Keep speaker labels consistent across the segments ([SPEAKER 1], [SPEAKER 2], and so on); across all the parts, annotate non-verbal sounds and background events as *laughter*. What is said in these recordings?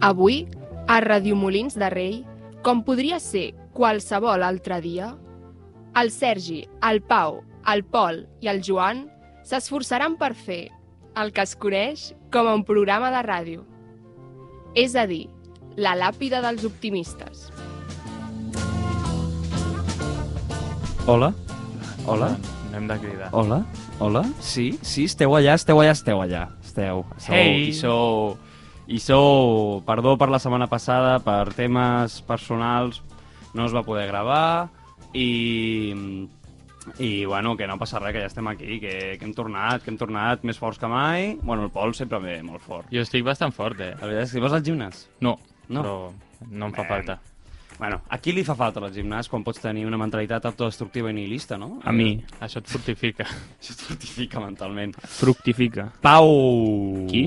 [SPEAKER 1] Avui, a Radiomolins de Rei, com podria ser qualsevol altre dia, el Sergi, el Pau, el Pol i el Joan s'esforçaran per fer el que es coneix com un programa de ràdio. És a dir, la làpida dels optimistes.
[SPEAKER 2] Hola? Hola?
[SPEAKER 3] No, no hem de cridar.
[SPEAKER 2] Hola? Hola? Sí? Sí? Esteu allà? Esteu allà? Esteu allà? Esteu. Sou,
[SPEAKER 3] Hey!
[SPEAKER 2] I sou... I sou... Perdó per la setmana passada, per temes personals no es va poder gravar i... I, bueno, que no passa res, que ja estem aquí, que, que hem tornat, que hem tornat més forts que mai. Bueno, el Pol sempre ve molt fort.
[SPEAKER 3] Jo estic bastant fort, eh?
[SPEAKER 2] La veritat és que vas al gimnàs.
[SPEAKER 3] No,
[SPEAKER 2] No.
[SPEAKER 3] no. però no em fa
[SPEAKER 2] Bé.
[SPEAKER 3] falta.
[SPEAKER 2] Bueno, a qui li fa falta al gimnàs quan pots tenir una mentalitat autodestructiva i nihilista, no?
[SPEAKER 3] Això et fortifica.
[SPEAKER 2] Això et fortifica mentalment.
[SPEAKER 4] Fructifica.
[SPEAKER 2] Pau...
[SPEAKER 4] Qui?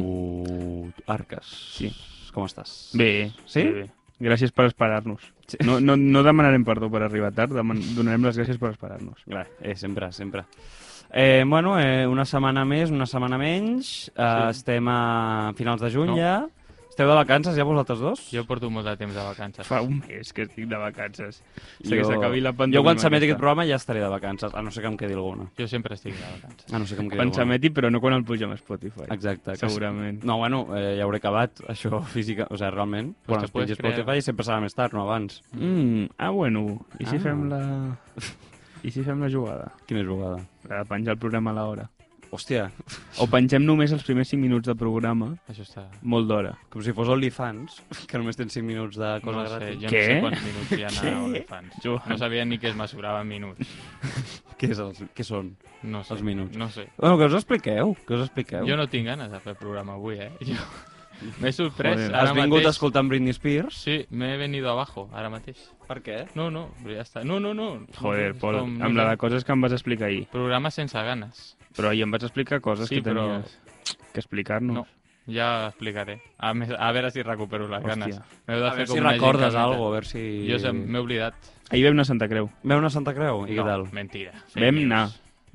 [SPEAKER 2] Arques.
[SPEAKER 4] Sí.
[SPEAKER 2] Com estàs?
[SPEAKER 4] Bé,
[SPEAKER 2] Sí?
[SPEAKER 4] bé, bé. Gràcies per esperar-nos. No, no, no demanarem perdó per arribar tard, deman donarem les gràcies per esperar-nos.
[SPEAKER 2] Clar, eh, sempre, sempre. Eh, bueno, eh, una setmana més, una setmana menys. Eh, sí. Estem a finals de juny
[SPEAKER 3] No.
[SPEAKER 2] no. ja. Esteu de vacances ja vosaltres dos?
[SPEAKER 3] Jo porto molt de temps de vacances.
[SPEAKER 4] Fa un mes que estic de vacances. Hasta que s'acabi la pandèmia.
[SPEAKER 2] Jo quan s'emeti aquest programa ja estaré de vacances, a no ser que em quedi alguna.
[SPEAKER 3] Jo sempre estic de vacances.
[SPEAKER 2] A no ser que em quedi
[SPEAKER 4] Quan
[SPEAKER 2] alguna.
[SPEAKER 4] s'emeti, però no quan el pugem a Spotify.
[SPEAKER 2] Exacte. que-
[SPEAKER 4] Segurament.
[SPEAKER 2] No, bueno, eh, ja hauré acabat això física, o sigui, realment.
[SPEAKER 3] Pues
[SPEAKER 2] Quan
[SPEAKER 3] te
[SPEAKER 2] es pengi
[SPEAKER 3] puedes creer.
[SPEAKER 2] Spotify sempre serà més tard, no abans.
[SPEAKER 4] Mm, ah, bueno. I si
[SPEAKER 2] Ah.
[SPEAKER 4] fem la... I si fem la jugada?
[SPEAKER 2] Quina jugada.
[SPEAKER 4] La de penjar el programa a l'hora.
[SPEAKER 2] Hòstia,
[SPEAKER 4] O pengem només els primers 5 minuts de programa,
[SPEAKER 3] Això està...
[SPEAKER 4] molt d'hora.
[SPEAKER 2] com si fos OnlyFans, *laughs* que només tens 5 minuts de cosa
[SPEAKER 3] no sé,
[SPEAKER 2] gratis.
[SPEAKER 3] jo
[SPEAKER 4] Què?
[SPEAKER 3] no sé quants minuts hi ha a OnlyFans.
[SPEAKER 4] Joan.
[SPEAKER 3] No sabia ni que es mesurava en minuts.
[SPEAKER 2] Què, és els, què són?
[SPEAKER 3] No sé.
[SPEAKER 2] Els minuts.
[SPEAKER 3] No sé.
[SPEAKER 2] Bueno, que us expliqueu, que us expliqueu.
[SPEAKER 3] Jo no tinc ganes de fer programa avui, eh?
[SPEAKER 4] *laughs*
[SPEAKER 3] Jo... M'he sorprès
[SPEAKER 4] Joder,
[SPEAKER 3] ara
[SPEAKER 2] Has vingut
[SPEAKER 3] mateix.
[SPEAKER 2] escoltant Britney Spears?
[SPEAKER 3] Sí, m'he venido abajo, ara mateix.
[SPEAKER 2] Per què?
[SPEAKER 3] No, no, però ja està. No, no, no.
[SPEAKER 4] Joder,
[SPEAKER 3] És
[SPEAKER 4] Pol,
[SPEAKER 3] com-
[SPEAKER 4] amb
[SPEAKER 3] no
[SPEAKER 4] la de
[SPEAKER 3] sé.
[SPEAKER 4] coses que em vas explicar ahir.
[SPEAKER 3] Programa sense ganes.
[SPEAKER 4] Però ahir em vas explicar coses
[SPEAKER 3] Sí,
[SPEAKER 4] que
[SPEAKER 3] però-
[SPEAKER 4] tenies que explicar-nos.
[SPEAKER 3] No, ja explicaré. A, més, a veure si recupero les
[SPEAKER 4] Hòstia.
[SPEAKER 3] ganes. M'heu
[SPEAKER 2] A
[SPEAKER 3] de fer
[SPEAKER 2] veure
[SPEAKER 3] com
[SPEAKER 2] si
[SPEAKER 3] una
[SPEAKER 2] recordes
[SPEAKER 3] gincaneta.
[SPEAKER 2] alguna a veure si...
[SPEAKER 3] Jo se- m'he oblidat.
[SPEAKER 4] Ahir vam anar a Santa Creu.
[SPEAKER 2] Veu una Santa Creu? I
[SPEAKER 3] no,
[SPEAKER 2] què tal?
[SPEAKER 3] mentira. Fake
[SPEAKER 4] Vam
[SPEAKER 3] news.
[SPEAKER 4] anar.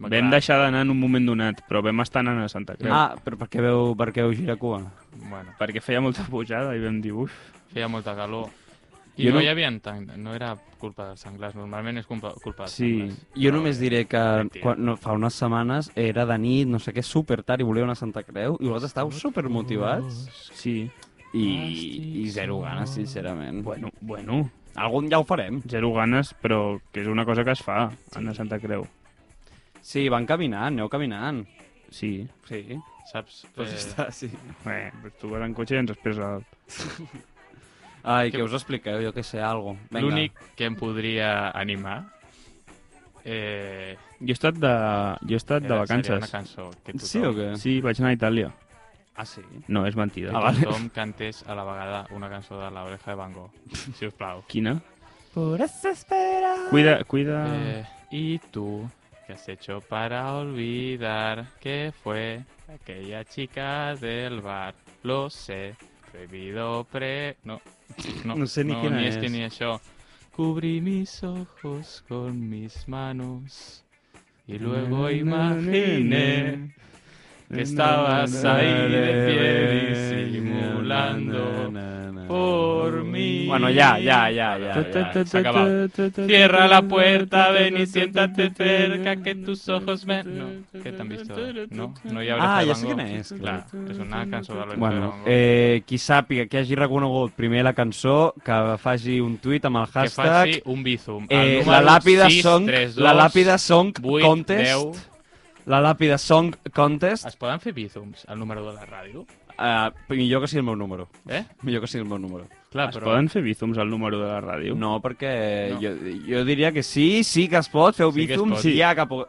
[SPEAKER 3] Va,
[SPEAKER 4] Vam
[SPEAKER 3] clar.
[SPEAKER 4] deixar d'anar en un moment donat, però vam estar anant a Santa Creu.
[SPEAKER 2] Ah, però per què veu, per què veu girar cua?
[SPEAKER 3] Bueno,
[SPEAKER 4] Perquè feia molta pujada i vam dir, uf,
[SPEAKER 3] feia molta calor. I
[SPEAKER 4] Jo
[SPEAKER 3] no,
[SPEAKER 4] no-
[SPEAKER 3] hi havia tant, no era culpa dels senglars, normalment és culpa, culpa dels
[SPEAKER 4] Sí,
[SPEAKER 3] senglars.
[SPEAKER 2] Jo
[SPEAKER 3] Però
[SPEAKER 2] només
[SPEAKER 3] bé,
[SPEAKER 2] diré que
[SPEAKER 3] mentira.
[SPEAKER 2] quan, no, fa unes setmanes era de nit, no sé què, super tard i volia una Santa Creu i vosaltres estàveu super motivats
[SPEAKER 4] sí.
[SPEAKER 2] i, i zero ganes, sincerament.
[SPEAKER 4] Bueno, bueno,
[SPEAKER 2] Algun ja ho farem.
[SPEAKER 4] zero ganes, però que és una cosa que es fa, anar a Santa Creu.
[SPEAKER 2] Sí, van caminant, aneu caminant.
[SPEAKER 4] Sí.
[SPEAKER 2] Sí,
[SPEAKER 3] Saps?
[SPEAKER 2] pues
[SPEAKER 3] Eh,
[SPEAKER 2] ja està, sí.
[SPEAKER 4] Bé, doncs tu vas en cotxe i ens esperes al...
[SPEAKER 2] Ai,
[SPEAKER 3] que-
[SPEAKER 2] que us expliqueu, jo que sé, algo. Vinga.
[SPEAKER 3] L'únic que em podria animar eh,
[SPEAKER 4] Jo he estat de, jo he estat de
[SPEAKER 3] era- seria una
[SPEAKER 4] vacances.
[SPEAKER 3] cançó que tothom,
[SPEAKER 2] Sí o què?
[SPEAKER 4] Sí, vaig anar a Itàlia.
[SPEAKER 2] Ah, sí?
[SPEAKER 4] No, és mentida.
[SPEAKER 3] que tothom cantés a la vegada una cançó de la oreja de Van Gogh, si us plau.
[SPEAKER 4] Quina?
[SPEAKER 2] Por esa espera...
[SPEAKER 4] Cuida, cuida...
[SPEAKER 3] Eh, ¿Y tú qué has hecho para olvidar que fue aquella chica del bar? Lo sé, prohibido pre... No, no,
[SPEAKER 2] No sé ni quién
[SPEAKER 3] ni
[SPEAKER 2] es.
[SPEAKER 3] este ni yo. Cubrí mis ojos con mis manos y luego imaginé que
[SPEAKER 2] Eh,
[SPEAKER 3] estabas ahí de pie disimulando por mí.
[SPEAKER 2] Bueno, ya, ya, ya, ya. ya.
[SPEAKER 3] Se ha acabado. Cierra la puerta, ven y siéntate cerca, que tus ojos me... No, ¿qué te han visto? No, no hi ha Oreja
[SPEAKER 2] Ah,
[SPEAKER 3] de
[SPEAKER 2] ja
[SPEAKER 3] Van
[SPEAKER 2] sé quina
[SPEAKER 3] Gogh.
[SPEAKER 2] és, clar.
[SPEAKER 3] Clar, és una cançó de l'Oreja de
[SPEAKER 2] Bueno,
[SPEAKER 3] Van Gogh.
[SPEAKER 2] eh, qui sàpiga que hagi reconegut primer la cançó, que faci un tuit amb el
[SPEAKER 3] que
[SPEAKER 2] hashtag...
[SPEAKER 3] faci un bizum. El
[SPEAKER 2] Eh,
[SPEAKER 3] número
[SPEAKER 2] la làpida
[SPEAKER 3] 6,
[SPEAKER 2] song,
[SPEAKER 3] 3,
[SPEAKER 2] la
[SPEAKER 3] 2,
[SPEAKER 2] làpida song
[SPEAKER 3] 8,
[SPEAKER 2] contest,
[SPEAKER 3] 10.
[SPEAKER 2] la làpida song contest,
[SPEAKER 3] Es poden fer bizums al número de la ràdio?
[SPEAKER 2] eh, millor que sigui el meu número,
[SPEAKER 3] Eh?
[SPEAKER 2] millor que sigui el meu número.
[SPEAKER 3] Clar,
[SPEAKER 4] Es
[SPEAKER 3] però...
[SPEAKER 4] poden fer bízums al número de la ràdio?
[SPEAKER 2] No, perquè
[SPEAKER 3] No.
[SPEAKER 2] Jo, jo diria que sí, sí que es pot, feu
[SPEAKER 3] Sí que es
[SPEAKER 2] bízum,
[SPEAKER 3] pot.
[SPEAKER 2] sí, ja que... puc-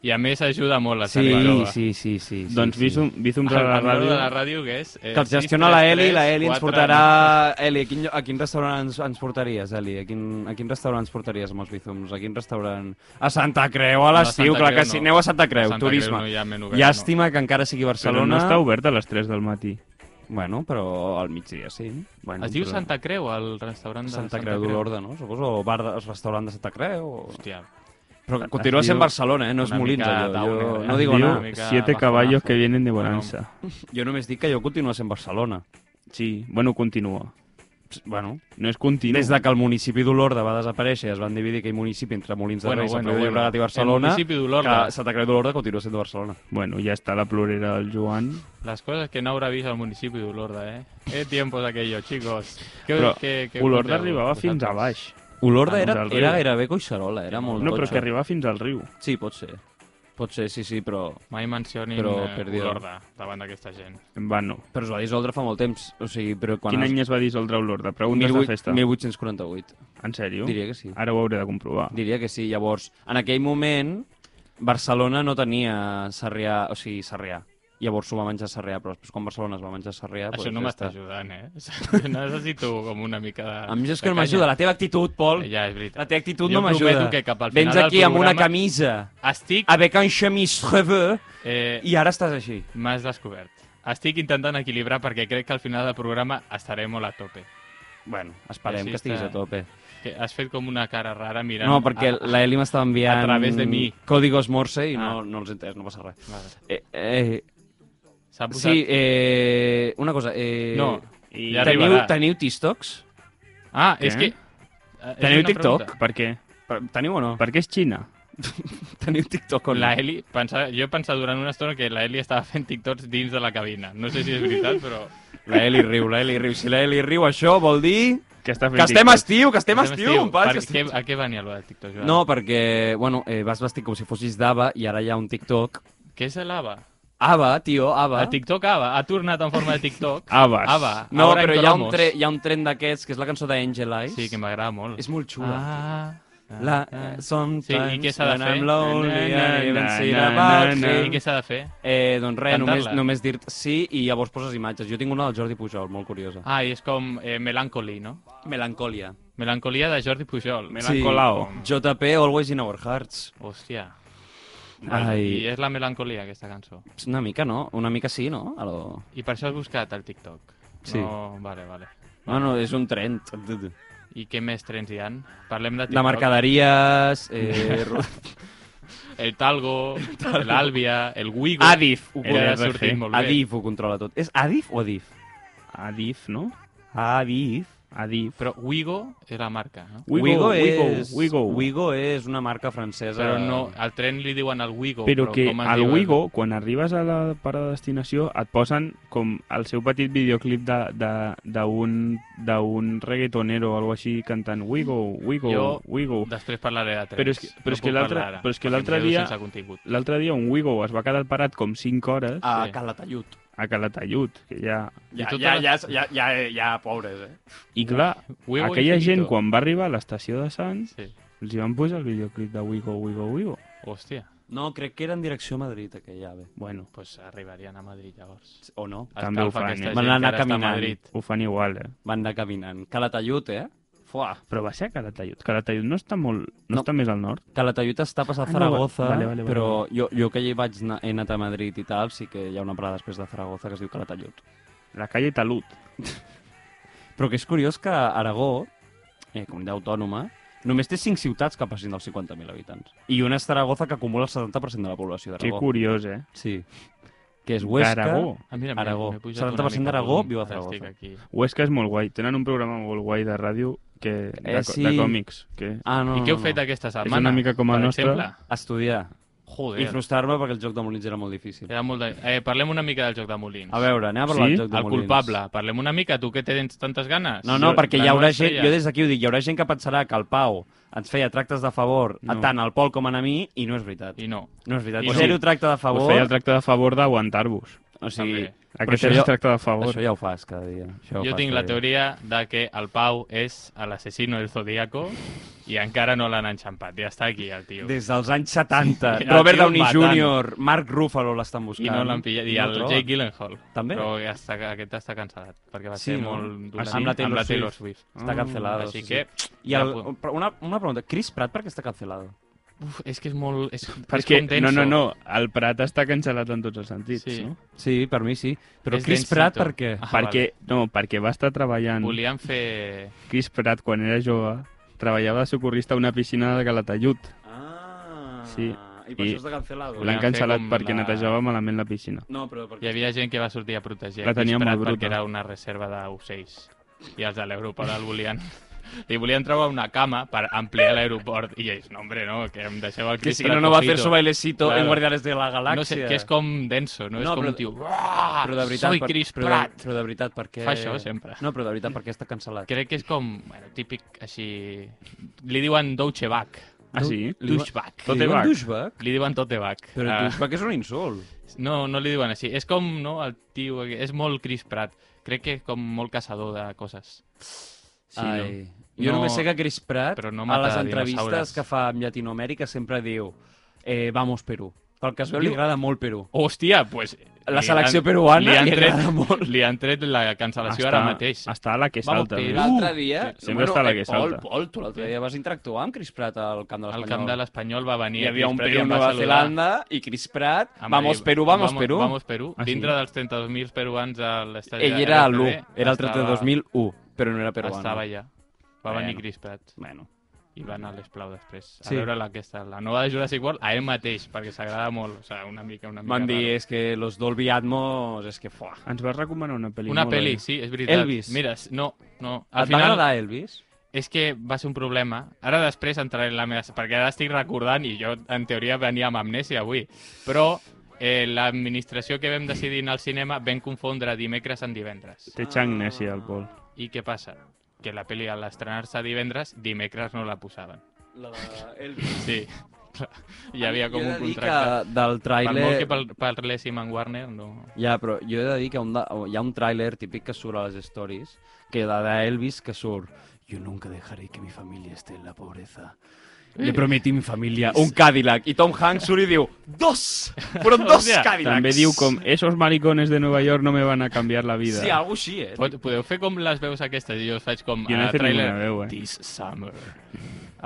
[SPEAKER 3] I a més ajuda molt la
[SPEAKER 2] Sí,
[SPEAKER 3] Sara Jova.
[SPEAKER 2] sí, sí, sí, sí.
[SPEAKER 4] doncs
[SPEAKER 2] sí. Ah,
[SPEAKER 4] bízum, bízums
[SPEAKER 3] El,
[SPEAKER 4] a la
[SPEAKER 3] el número de la
[SPEAKER 4] ràdio...
[SPEAKER 3] ràdio que és... Eh,
[SPEAKER 2] Que els
[SPEAKER 3] sis,
[SPEAKER 2] gestiona
[SPEAKER 3] tres,
[SPEAKER 2] la Eli,
[SPEAKER 3] tres,
[SPEAKER 2] la Eli ens
[SPEAKER 3] quatre,
[SPEAKER 2] portarà... Eli, a quin, a quin restaurant ens, ens portaries, Eli? A quin, a quin restaurant ens portaries amb els bizums? A quin restaurant? A Santa Creu, a
[SPEAKER 3] No, a
[SPEAKER 2] l'estiu,
[SPEAKER 3] Santa
[SPEAKER 2] clar
[SPEAKER 3] Creu
[SPEAKER 2] que sí.
[SPEAKER 3] no.
[SPEAKER 2] Aneu a Santa Creu,
[SPEAKER 3] Santa Creu
[SPEAKER 2] turisme.
[SPEAKER 3] no hi ha menú obert,
[SPEAKER 2] Llàstima que encara sigui
[SPEAKER 4] Però
[SPEAKER 2] Barcelona.
[SPEAKER 4] no està obert a les 3 del matí.
[SPEAKER 2] Bueno, però al migdia sí. Bueno,
[SPEAKER 3] Es diu
[SPEAKER 2] però-
[SPEAKER 3] Santa Creu, el restaurant de
[SPEAKER 2] Santa Creu d'Olorda, no? Suposo, o bar de, el restaurant de Santa Creu. O...
[SPEAKER 3] Hòstia,
[SPEAKER 2] Però que continua sent
[SPEAKER 4] diu-
[SPEAKER 2] Barcelona, eh? No és
[SPEAKER 3] Una
[SPEAKER 2] Molins,
[SPEAKER 3] mica
[SPEAKER 2] allò. Jo,
[SPEAKER 3] downer, eh?
[SPEAKER 2] no digo
[SPEAKER 4] Diu
[SPEAKER 3] una
[SPEAKER 2] nada.
[SPEAKER 3] mica
[SPEAKER 4] siete
[SPEAKER 3] bajonazo.
[SPEAKER 4] caballos que vienen de
[SPEAKER 3] Bueno.
[SPEAKER 4] bonanza.
[SPEAKER 2] Jo només dic que jo continuo sent Barcelona.
[SPEAKER 4] Sí, bueno, continua.
[SPEAKER 2] Bueno,
[SPEAKER 4] No és continu.
[SPEAKER 2] des de que el municipi d'Olorda va desaparèixer i es van dividir aquell municipi entre Molins de Rei, Santa Creu de Llobregat i
[SPEAKER 3] El
[SPEAKER 2] Barcelona,
[SPEAKER 3] municipi
[SPEAKER 2] que
[SPEAKER 3] d'Olorda.
[SPEAKER 2] Santa Creu d'Olorda continua sent de Barcelona.
[SPEAKER 4] Bueno, ja està la plorera del Joan.
[SPEAKER 3] Las cosas que no habrá visto el municipio de Ulorda, ¿eh? ¿Qué tiempos aquellos, chicos? ¿Qué,
[SPEAKER 4] Però
[SPEAKER 3] qué- qué conté
[SPEAKER 4] Olorda arribava
[SPEAKER 3] vosaltres?
[SPEAKER 4] fins a baix.
[SPEAKER 2] Olorda
[SPEAKER 4] Ah,
[SPEAKER 2] era,
[SPEAKER 4] del riu.
[SPEAKER 2] era gairebé Coixarola, era molt
[SPEAKER 4] No, però és
[SPEAKER 2] totxo.
[SPEAKER 4] que arribava fins al riu.
[SPEAKER 2] Sí, pot ser. Pot ser, sí, sí, però...
[SPEAKER 3] Mai mencionin
[SPEAKER 2] Però,
[SPEAKER 3] eh,
[SPEAKER 2] per Déu.
[SPEAKER 3] Olorda davant d'aquesta gent.
[SPEAKER 4] En va, no.
[SPEAKER 2] Però es va dissoldre fa molt temps. O sigui, però quan...
[SPEAKER 4] Quin
[SPEAKER 2] es-
[SPEAKER 4] any es va dissoldre Olorda? Preguntes de
[SPEAKER 2] 18-
[SPEAKER 4] festa.
[SPEAKER 2] 1848.
[SPEAKER 4] En sèrio?
[SPEAKER 2] Diria que sí.
[SPEAKER 4] Ara ho hauré de comprovar.
[SPEAKER 2] Diria que sí. Llavors, en aquell moment, Barcelona no tenia Sarrià, o sigui, Sarrià. Llavors s'ho va menjar Sarrià, però després quan Barcelona es va menjar Sarrià...
[SPEAKER 3] Això
[SPEAKER 2] doncs
[SPEAKER 3] no
[SPEAKER 2] ja està.
[SPEAKER 3] m'està ajudant, eh? *laughs* Jo Necessito com una mica de...
[SPEAKER 2] A mi és
[SPEAKER 3] de
[SPEAKER 2] que no
[SPEAKER 3] canya.
[SPEAKER 2] m'ajuda. La teva actitud, Pol,
[SPEAKER 3] Ja, és veritat.
[SPEAKER 2] la teva actitud
[SPEAKER 3] Jo
[SPEAKER 2] no m'ajuda.
[SPEAKER 3] prometo que cap al final
[SPEAKER 2] Vens
[SPEAKER 3] del
[SPEAKER 2] aquí amb una
[SPEAKER 3] programa-
[SPEAKER 2] camisa,
[SPEAKER 3] Estic...
[SPEAKER 2] avec un chemise reveux,
[SPEAKER 3] Eh,
[SPEAKER 2] i ara estàs així.
[SPEAKER 3] M'has descobert. Estic intentant equilibrar perquè crec que al final del programa estaré molt a tope.
[SPEAKER 2] Bueno, esperem
[SPEAKER 3] Així
[SPEAKER 2] que estiguis
[SPEAKER 3] està.
[SPEAKER 2] a tope.
[SPEAKER 3] Que has fet com una cara rara mirant...
[SPEAKER 2] No, perquè
[SPEAKER 3] a-
[SPEAKER 2] la Eli m'estava enviant...
[SPEAKER 3] a través de mi.
[SPEAKER 2] Códigos morse i
[SPEAKER 3] Ah.
[SPEAKER 2] no, no els he entès, no passa res.
[SPEAKER 3] Vale.
[SPEAKER 2] Eh, eh,
[SPEAKER 3] S'ha posat...
[SPEAKER 2] sí, eh, una cosa. Eh,
[SPEAKER 3] No,
[SPEAKER 4] I
[SPEAKER 3] ja
[SPEAKER 2] teniu,
[SPEAKER 3] arribarà.
[SPEAKER 2] teniu TikToks?
[SPEAKER 3] Ah, és
[SPEAKER 4] Què?
[SPEAKER 3] que... eh, és
[SPEAKER 4] Teniu
[SPEAKER 3] una
[SPEAKER 4] TikTok?
[SPEAKER 3] pregunta.
[SPEAKER 4] Per què?
[SPEAKER 2] Teniu o no?
[SPEAKER 4] Per què és Xina?
[SPEAKER 2] Teniu TikTok o no?
[SPEAKER 3] La Eli, pensava, jo he pensat durant una estona que la Eli estava fent TikToks dins de la cabina. No sé si és
[SPEAKER 4] *laughs*
[SPEAKER 3] veritat, però...
[SPEAKER 2] La Eli riu, la Eli riu. Si la Eli riu, això vol dir...
[SPEAKER 4] Que està fent
[SPEAKER 2] Que estem a
[SPEAKER 4] TikTok?
[SPEAKER 2] estiu, que estem a estiu, companys. que
[SPEAKER 3] per què,
[SPEAKER 2] estem-
[SPEAKER 3] a què venia allò de TikTok? Joan?
[SPEAKER 2] No, perquè, bueno, eh, vas vestit com si fossis d'Ava i ara hi ha un TikTok.
[SPEAKER 3] Què és l'AVA?
[SPEAKER 2] Ava, tio, Ava.
[SPEAKER 3] El TikTok AVA ha tornat en forma de TikTok.
[SPEAKER 4] Abas.
[SPEAKER 3] AVA.
[SPEAKER 2] No,
[SPEAKER 3] ahora en
[SPEAKER 2] però hi ha, un
[SPEAKER 3] cromos.
[SPEAKER 2] tre, hi ha un tren d'aquests, que és la cançó d'Angel Eyes.
[SPEAKER 3] Sí, que m'agrada molt.
[SPEAKER 2] És molt xula.
[SPEAKER 3] Ah, ah,
[SPEAKER 2] La,
[SPEAKER 3] ah.
[SPEAKER 2] eh, sometimes
[SPEAKER 3] Sí, i què s'ha de
[SPEAKER 2] when
[SPEAKER 3] fer?
[SPEAKER 2] I'm lonely,
[SPEAKER 4] Na, na,
[SPEAKER 2] I even
[SPEAKER 4] na,
[SPEAKER 2] see
[SPEAKER 4] na,
[SPEAKER 2] about
[SPEAKER 4] na,
[SPEAKER 2] you.
[SPEAKER 4] na.
[SPEAKER 3] I què s'ha de fer?
[SPEAKER 2] Eh, doncs res,
[SPEAKER 3] Cantar-la.
[SPEAKER 2] només, només dir sí i llavors poses imatges. Jo tinc una del Jordi Pujol, molt curiosa.
[SPEAKER 3] Ah, i és com eh, Melancholy, no?
[SPEAKER 2] Melancòlia.
[SPEAKER 3] Melancolia de Jordi Pujol.
[SPEAKER 4] Melancolao.
[SPEAKER 2] JP, Always in Our Hearts.
[SPEAKER 3] Hòstia. I
[SPEAKER 2] Ai,
[SPEAKER 3] és la melancolia, aquesta cançó.
[SPEAKER 2] una mica no, una mica sí, no? A lo...
[SPEAKER 3] I per això has buscat el TikTok.
[SPEAKER 2] Sí.
[SPEAKER 3] No, vale, vale.
[SPEAKER 2] No, no, és un trend.
[SPEAKER 3] I què més trens hi han? Parlem de TikTok.
[SPEAKER 2] De *laughs* mercaderies... Eh... ro-
[SPEAKER 3] El
[SPEAKER 4] *laughs*
[SPEAKER 3] Talgo, l'Àlvia, el Wigo.
[SPEAKER 2] Adif. Ho
[SPEAKER 3] Que
[SPEAKER 4] El
[SPEAKER 2] controla.
[SPEAKER 3] ha
[SPEAKER 4] RG.
[SPEAKER 3] sortit molt bé.
[SPEAKER 2] Adif ho controla tot. És Adif o Adif?
[SPEAKER 4] Adif, no?
[SPEAKER 2] Adif.
[SPEAKER 4] Adif.
[SPEAKER 3] Però Wigo és la marca, no?
[SPEAKER 4] Wigo, Wigo,
[SPEAKER 2] és...
[SPEAKER 4] Wigo.
[SPEAKER 2] Wigo és una marca francesa.
[SPEAKER 3] Però no, al tren li diuen el Wigo.
[SPEAKER 4] Però que
[SPEAKER 3] com es
[SPEAKER 4] al
[SPEAKER 3] diu
[SPEAKER 4] Wigo, quan arribes a la parada de destinació, et posen com el seu petit videoclip de- de- d'un d'un reggaetonero o alguna així cantant Wigo, Wigo,
[SPEAKER 3] Jo-
[SPEAKER 4] Wigo.
[SPEAKER 3] El... Després parlaré de trens.
[SPEAKER 4] Però és que- però
[SPEAKER 3] no
[SPEAKER 4] és que
[SPEAKER 3] puc
[SPEAKER 4] l'altre-
[SPEAKER 3] parlar ara,
[SPEAKER 4] però és
[SPEAKER 3] perquè
[SPEAKER 4] que
[SPEAKER 3] em
[SPEAKER 4] l'altre
[SPEAKER 3] quedo
[SPEAKER 4] dia-
[SPEAKER 3] Sense contingut.
[SPEAKER 4] L'altre dia un Wigo es va quedar parat com 5 hores a,
[SPEAKER 2] A
[SPEAKER 3] Sí.
[SPEAKER 2] Calatallut.
[SPEAKER 4] Calatallut, que ja...
[SPEAKER 3] Ja, ja, ja,
[SPEAKER 2] ja, ja, ja, pobres, eh?
[SPEAKER 4] I clar,
[SPEAKER 3] Wigo
[SPEAKER 4] aquella
[SPEAKER 3] infinito.
[SPEAKER 4] gent quan va arribar a l'estació de Sants
[SPEAKER 3] Sí.
[SPEAKER 4] els hi van posar el videoclip de Wigo, Wigo, Wigo.
[SPEAKER 3] Hòstia.
[SPEAKER 2] No, crec que era en direcció a Madrid, aquella ave.
[SPEAKER 4] Bueno,
[SPEAKER 3] pues arribarien a Madrid llavors.
[SPEAKER 2] O no?
[SPEAKER 4] També ho
[SPEAKER 3] Escalfa
[SPEAKER 4] fan,
[SPEAKER 3] aquesta
[SPEAKER 4] eh?
[SPEAKER 3] gent
[SPEAKER 2] Van
[SPEAKER 3] que
[SPEAKER 2] anar
[SPEAKER 3] ara està a
[SPEAKER 2] caminant.
[SPEAKER 3] Madrid.
[SPEAKER 4] ho fan igual, eh?
[SPEAKER 2] Van anar caminant. Calatallut, eh? Fuà.
[SPEAKER 4] Però va ser a Calatayud. Calatayud no està molt... No,
[SPEAKER 2] No.
[SPEAKER 4] no. està més al nord?
[SPEAKER 2] Calatayud està passat
[SPEAKER 4] Ah,
[SPEAKER 2] a
[SPEAKER 4] no,
[SPEAKER 2] Zaragoza,
[SPEAKER 4] vale, vale, vale,
[SPEAKER 2] però Jo, jo que hi vaig anar, he anat a Madrid i tal, sí que hi ha una parada després de Zaragoza que es diu Calatayud.
[SPEAKER 4] La calle Talud.
[SPEAKER 2] Però que és curiós que Aragó, eh, comunitat autònoma, només té 5 ciutats que passin dels 50.000 habitants. I una és Zaragoza que acumula el 70% de la població
[SPEAKER 4] Que
[SPEAKER 2] d'Aragó.
[SPEAKER 4] curiós, eh?
[SPEAKER 2] Sí. Que és Huesca...
[SPEAKER 4] D'Aragó.
[SPEAKER 3] Ah, mira,
[SPEAKER 2] Aragó.
[SPEAKER 3] m'he pujat una
[SPEAKER 2] 70%
[SPEAKER 3] mica
[SPEAKER 2] d'Aragó,
[SPEAKER 3] el volum.
[SPEAKER 2] viu a
[SPEAKER 3] Ara estic
[SPEAKER 2] Zaragoza.
[SPEAKER 3] aquí.
[SPEAKER 4] Huesca és molt guai. Tenen un programa molt guai de ràdio que, de,
[SPEAKER 2] Eh,
[SPEAKER 4] co-
[SPEAKER 2] sí.
[SPEAKER 4] de còmics. Que...
[SPEAKER 2] Ah, no,
[SPEAKER 3] I què heu
[SPEAKER 2] no,
[SPEAKER 3] fet
[SPEAKER 2] no.
[SPEAKER 3] aquesta setmana?
[SPEAKER 4] És una mica com el
[SPEAKER 3] per
[SPEAKER 4] nostre.
[SPEAKER 3] Exemple?
[SPEAKER 2] Estudiar. I
[SPEAKER 3] Joder.
[SPEAKER 2] frustrar-me perquè el joc de Molins era molt difícil.
[SPEAKER 3] Era molt de... eh, parlem una mica del joc de Molins.
[SPEAKER 2] A veure, anem a parlar
[SPEAKER 4] Sí?
[SPEAKER 2] del joc de
[SPEAKER 3] el
[SPEAKER 2] Molins.
[SPEAKER 3] culpable. Parlem una mica. Tu que tens tantes ganes?
[SPEAKER 2] No, no,
[SPEAKER 4] Jo-
[SPEAKER 2] perquè
[SPEAKER 3] la
[SPEAKER 2] hi haurà
[SPEAKER 3] nova
[SPEAKER 2] gent,
[SPEAKER 3] estrella.
[SPEAKER 2] jo des d'aquí ho dic, hi haurà gent que pensarà que el Pau ens feia tractes de favor a
[SPEAKER 4] No.
[SPEAKER 2] tant al Pol com a mi i no és veritat.
[SPEAKER 3] I no.
[SPEAKER 2] No és veritat.
[SPEAKER 3] I no.
[SPEAKER 2] Zero tracte de
[SPEAKER 4] Us
[SPEAKER 2] favor.
[SPEAKER 4] feia el tracte de favor d'aguantar-vos.
[SPEAKER 2] O sigui,
[SPEAKER 3] També.
[SPEAKER 2] però
[SPEAKER 4] Aquest
[SPEAKER 2] això
[SPEAKER 4] és
[SPEAKER 2] jo-
[SPEAKER 4] el tracte de favor.
[SPEAKER 2] això ja ho fas cada dia. Això ja ho
[SPEAKER 3] Jo
[SPEAKER 2] fas
[SPEAKER 3] tinc
[SPEAKER 2] cada
[SPEAKER 3] la
[SPEAKER 2] dia.
[SPEAKER 3] teoria de que el Pau és l'assassino del Zodíaco i encara no l'han enxampat. Ja està aquí el tio.
[SPEAKER 2] Des dels anys 70.
[SPEAKER 3] El
[SPEAKER 2] Robert
[SPEAKER 3] tio
[SPEAKER 2] Downey
[SPEAKER 3] matant.
[SPEAKER 2] Jr., Mark Ruffalo l'estan buscant.
[SPEAKER 3] I no l'han pillat. I
[SPEAKER 2] No
[SPEAKER 3] el
[SPEAKER 2] troben.
[SPEAKER 3] Jake Gyllenhaal.
[SPEAKER 2] També?
[SPEAKER 3] Però ja està, aquest està cancel·lat, perquè va
[SPEAKER 2] Sí,
[SPEAKER 3] ser
[SPEAKER 2] no?
[SPEAKER 3] molt
[SPEAKER 4] Ah,
[SPEAKER 3] dolent.
[SPEAKER 4] sí? Amb la
[SPEAKER 2] Taylor
[SPEAKER 3] amb la Taylor Swift. Mm.
[SPEAKER 2] Està
[SPEAKER 4] Ah,
[SPEAKER 2] cancelado.
[SPEAKER 3] Així
[SPEAKER 2] sí,
[SPEAKER 3] que...
[SPEAKER 2] sí. I el,
[SPEAKER 3] ja
[SPEAKER 2] però una, una pregunta. Chris Pratt per què està cancelado?
[SPEAKER 3] Uf, és que és molt... És,
[SPEAKER 4] Perquè,
[SPEAKER 3] és com
[SPEAKER 4] no,
[SPEAKER 3] denso.
[SPEAKER 4] no, no, el Prat està cancel·lat en tots els sentits,
[SPEAKER 3] Sí.
[SPEAKER 4] no?
[SPEAKER 2] Sí, per mi sí. Però
[SPEAKER 3] És
[SPEAKER 2] Chris
[SPEAKER 3] densito.
[SPEAKER 2] Pratt per què?
[SPEAKER 3] Ah,
[SPEAKER 4] perquè, no, perquè va estar treballant...
[SPEAKER 3] Volien fer...
[SPEAKER 4] Chris Pratt, quan era jove, treballava de socorrista a una piscina de Calatayud.
[SPEAKER 2] Ah,
[SPEAKER 4] Sí.
[SPEAKER 2] I per
[SPEAKER 4] I
[SPEAKER 2] això està cancel·lado.
[SPEAKER 3] Volem
[SPEAKER 4] L'han
[SPEAKER 3] fer
[SPEAKER 4] cancel·lat
[SPEAKER 3] com
[SPEAKER 4] perquè
[SPEAKER 3] la-
[SPEAKER 4] netejava malament la piscina.
[SPEAKER 2] No, però perquè...
[SPEAKER 3] Hi havia gent que va sortir a protegir
[SPEAKER 4] La
[SPEAKER 3] el
[SPEAKER 4] tenia
[SPEAKER 3] Prat
[SPEAKER 4] molt bruta.
[SPEAKER 3] perquè era una reserva d'ocells. I els de l'aeroport el volien... *laughs* I volien trobar una cama per ampliar l'aeroport. I ells, no, hombre, no, que em deixeu el
[SPEAKER 2] Que
[SPEAKER 3] Chris
[SPEAKER 2] si
[SPEAKER 3] Pratt
[SPEAKER 2] no, no va a
[SPEAKER 3] cojito".
[SPEAKER 2] hacer su bailecito
[SPEAKER 3] Claro.
[SPEAKER 2] en Guardianes de la Galaxia.
[SPEAKER 3] No sé, que és com denso,
[SPEAKER 2] No,
[SPEAKER 3] no? és com
[SPEAKER 2] però-
[SPEAKER 3] un tio... "Uah,
[SPEAKER 2] Però de veritat,
[SPEAKER 3] soy
[SPEAKER 2] per-
[SPEAKER 3] Chris
[SPEAKER 2] però, de-
[SPEAKER 3] Pratt!
[SPEAKER 2] però de veritat, perquè...
[SPEAKER 3] Fa això sempre.
[SPEAKER 2] No, però de veritat, perquè està cancel·lat.
[SPEAKER 3] Crec que és com, bueno, típic, així... Li diuen Deutsche Back.
[SPEAKER 4] Ah, sí?
[SPEAKER 3] Douchebag.
[SPEAKER 4] Tot
[SPEAKER 2] Li diuen
[SPEAKER 4] back.
[SPEAKER 2] douchebag?
[SPEAKER 3] Li diuen tot de back.
[SPEAKER 2] Però
[SPEAKER 3] Ah,
[SPEAKER 2] douchebag és un insult.
[SPEAKER 3] No, no li diuen així. És com, no, el tio... aquest- És molt Chris Pratt. Crec que és com molt caçador de coses. Sí, no?
[SPEAKER 2] Ai. Jo
[SPEAKER 3] No,
[SPEAKER 2] només sé que Chris Pratt,
[SPEAKER 3] però no
[SPEAKER 2] a
[SPEAKER 3] mata
[SPEAKER 2] les entrevistes
[SPEAKER 3] dinosaures.
[SPEAKER 2] que fa amb Llatinoamèrica, sempre diu eh, vamos Perú. Pel que es veu, li
[SPEAKER 3] Diu-
[SPEAKER 2] agrada molt Perú.
[SPEAKER 3] Hòstia, pues...
[SPEAKER 2] La
[SPEAKER 3] li
[SPEAKER 2] selecció
[SPEAKER 3] han-
[SPEAKER 2] peruana
[SPEAKER 3] li han,
[SPEAKER 2] li
[SPEAKER 3] tret,
[SPEAKER 2] agrada molt.
[SPEAKER 3] li han tret la cancel·lació ara mateix.
[SPEAKER 4] Està a la que
[SPEAKER 3] Vamos,
[SPEAKER 4] salta.
[SPEAKER 3] Pilar.
[SPEAKER 4] eh?
[SPEAKER 2] L'altre dia... eh,
[SPEAKER 4] Uh! Sempre està la que salta.
[SPEAKER 2] Pol, Pol, tu l'altre dia vas interactuar amb Chris Pratt al camp de l'Espanyol.
[SPEAKER 3] Al camp de l'Espanyol va venir...
[SPEAKER 2] Hi havia
[SPEAKER 3] Chris
[SPEAKER 2] un
[SPEAKER 3] Pratt i
[SPEAKER 2] Perú
[SPEAKER 3] em va
[SPEAKER 2] Nova
[SPEAKER 3] saludar.
[SPEAKER 2] Zelanda i Chris Pratt.
[SPEAKER 3] Em va
[SPEAKER 2] Vamos
[SPEAKER 3] dir,
[SPEAKER 2] Perú, vamos, Perú.
[SPEAKER 3] Vamos Perú.
[SPEAKER 4] Ah, sí?
[SPEAKER 3] Dintre dels 32.000 peruans eh, a l'estadi
[SPEAKER 2] Ell
[SPEAKER 3] de
[SPEAKER 2] era
[SPEAKER 3] RCD,
[SPEAKER 2] l'1, era el 32.001, però no era
[SPEAKER 3] Estava,
[SPEAKER 2] peruano.
[SPEAKER 3] estava allà. Va
[SPEAKER 2] Bueno.
[SPEAKER 3] venir Chris Pratt.
[SPEAKER 2] Bueno.
[SPEAKER 3] i va anar a l'Esplau després. A
[SPEAKER 2] Sí.
[SPEAKER 3] veure la, aquesta, la nova de Jurassic World a ell mateix, perquè s'agrada molt. O sigui, una mica, una mica
[SPEAKER 2] Van dir, eh,
[SPEAKER 3] raro.
[SPEAKER 2] és que los Dolby Atmos, és que fuà.
[SPEAKER 4] Ens vas recomanar una pel·li.
[SPEAKER 3] Una
[SPEAKER 4] molt
[SPEAKER 3] pel·li,
[SPEAKER 4] bé.
[SPEAKER 3] sí, és veritat.
[SPEAKER 2] Elvis.
[SPEAKER 3] Mira, s- no, no. Al
[SPEAKER 2] Et va
[SPEAKER 3] final
[SPEAKER 2] agradar Elvis?
[SPEAKER 3] és que va ser un problema. Ara després entraré en la meva... Perquè ara estic recordant i jo, en teoria, venia amb amnèsia avui. Però eh, l'administració que vam decidir anar al cinema vam confondre dimecres amb divendres.
[SPEAKER 2] Ah,
[SPEAKER 4] Té xangnesia, el Pol.
[SPEAKER 3] I què passa? Que la pel·li, a l'estrenar-se divendres, dimecres no la posaven.
[SPEAKER 2] La d'Elvis.
[SPEAKER 3] Sí, *laughs* clar. Hi havia com un
[SPEAKER 2] Jo he de dir
[SPEAKER 3] contracte.
[SPEAKER 2] que del
[SPEAKER 3] Per molt
[SPEAKER 2] tràiler...
[SPEAKER 3] que par- parléssim amb Warner, no...
[SPEAKER 2] Ja, però jo he de dir que un de... hi ha un tràiler típic que surt a les stories, que de d'Elvis que surt Yo nunca dejaré que mi familia esté en la pobreza. Le prometí a mi familia un Cadillac. I Tom Hanks surt i diu, dos! Però *laughs* dos
[SPEAKER 3] Hòstia,
[SPEAKER 2] Cadillacs!
[SPEAKER 4] També diu com, esos maricones de Nueva York no me van a canviar la vida.
[SPEAKER 2] Sí, algo així, eh?
[SPEAKER 3] Pot, podeu fer com les veus aquestes? Jo us faig com
[SPEAKER 4] Jo no he
[SPEAKER 3] a
[SPEAKER 4] fet
[SPEAKER 3] trailer.
[SPEAKER 4] ninguna veu, eh.
[SPEAKER 3] This summer.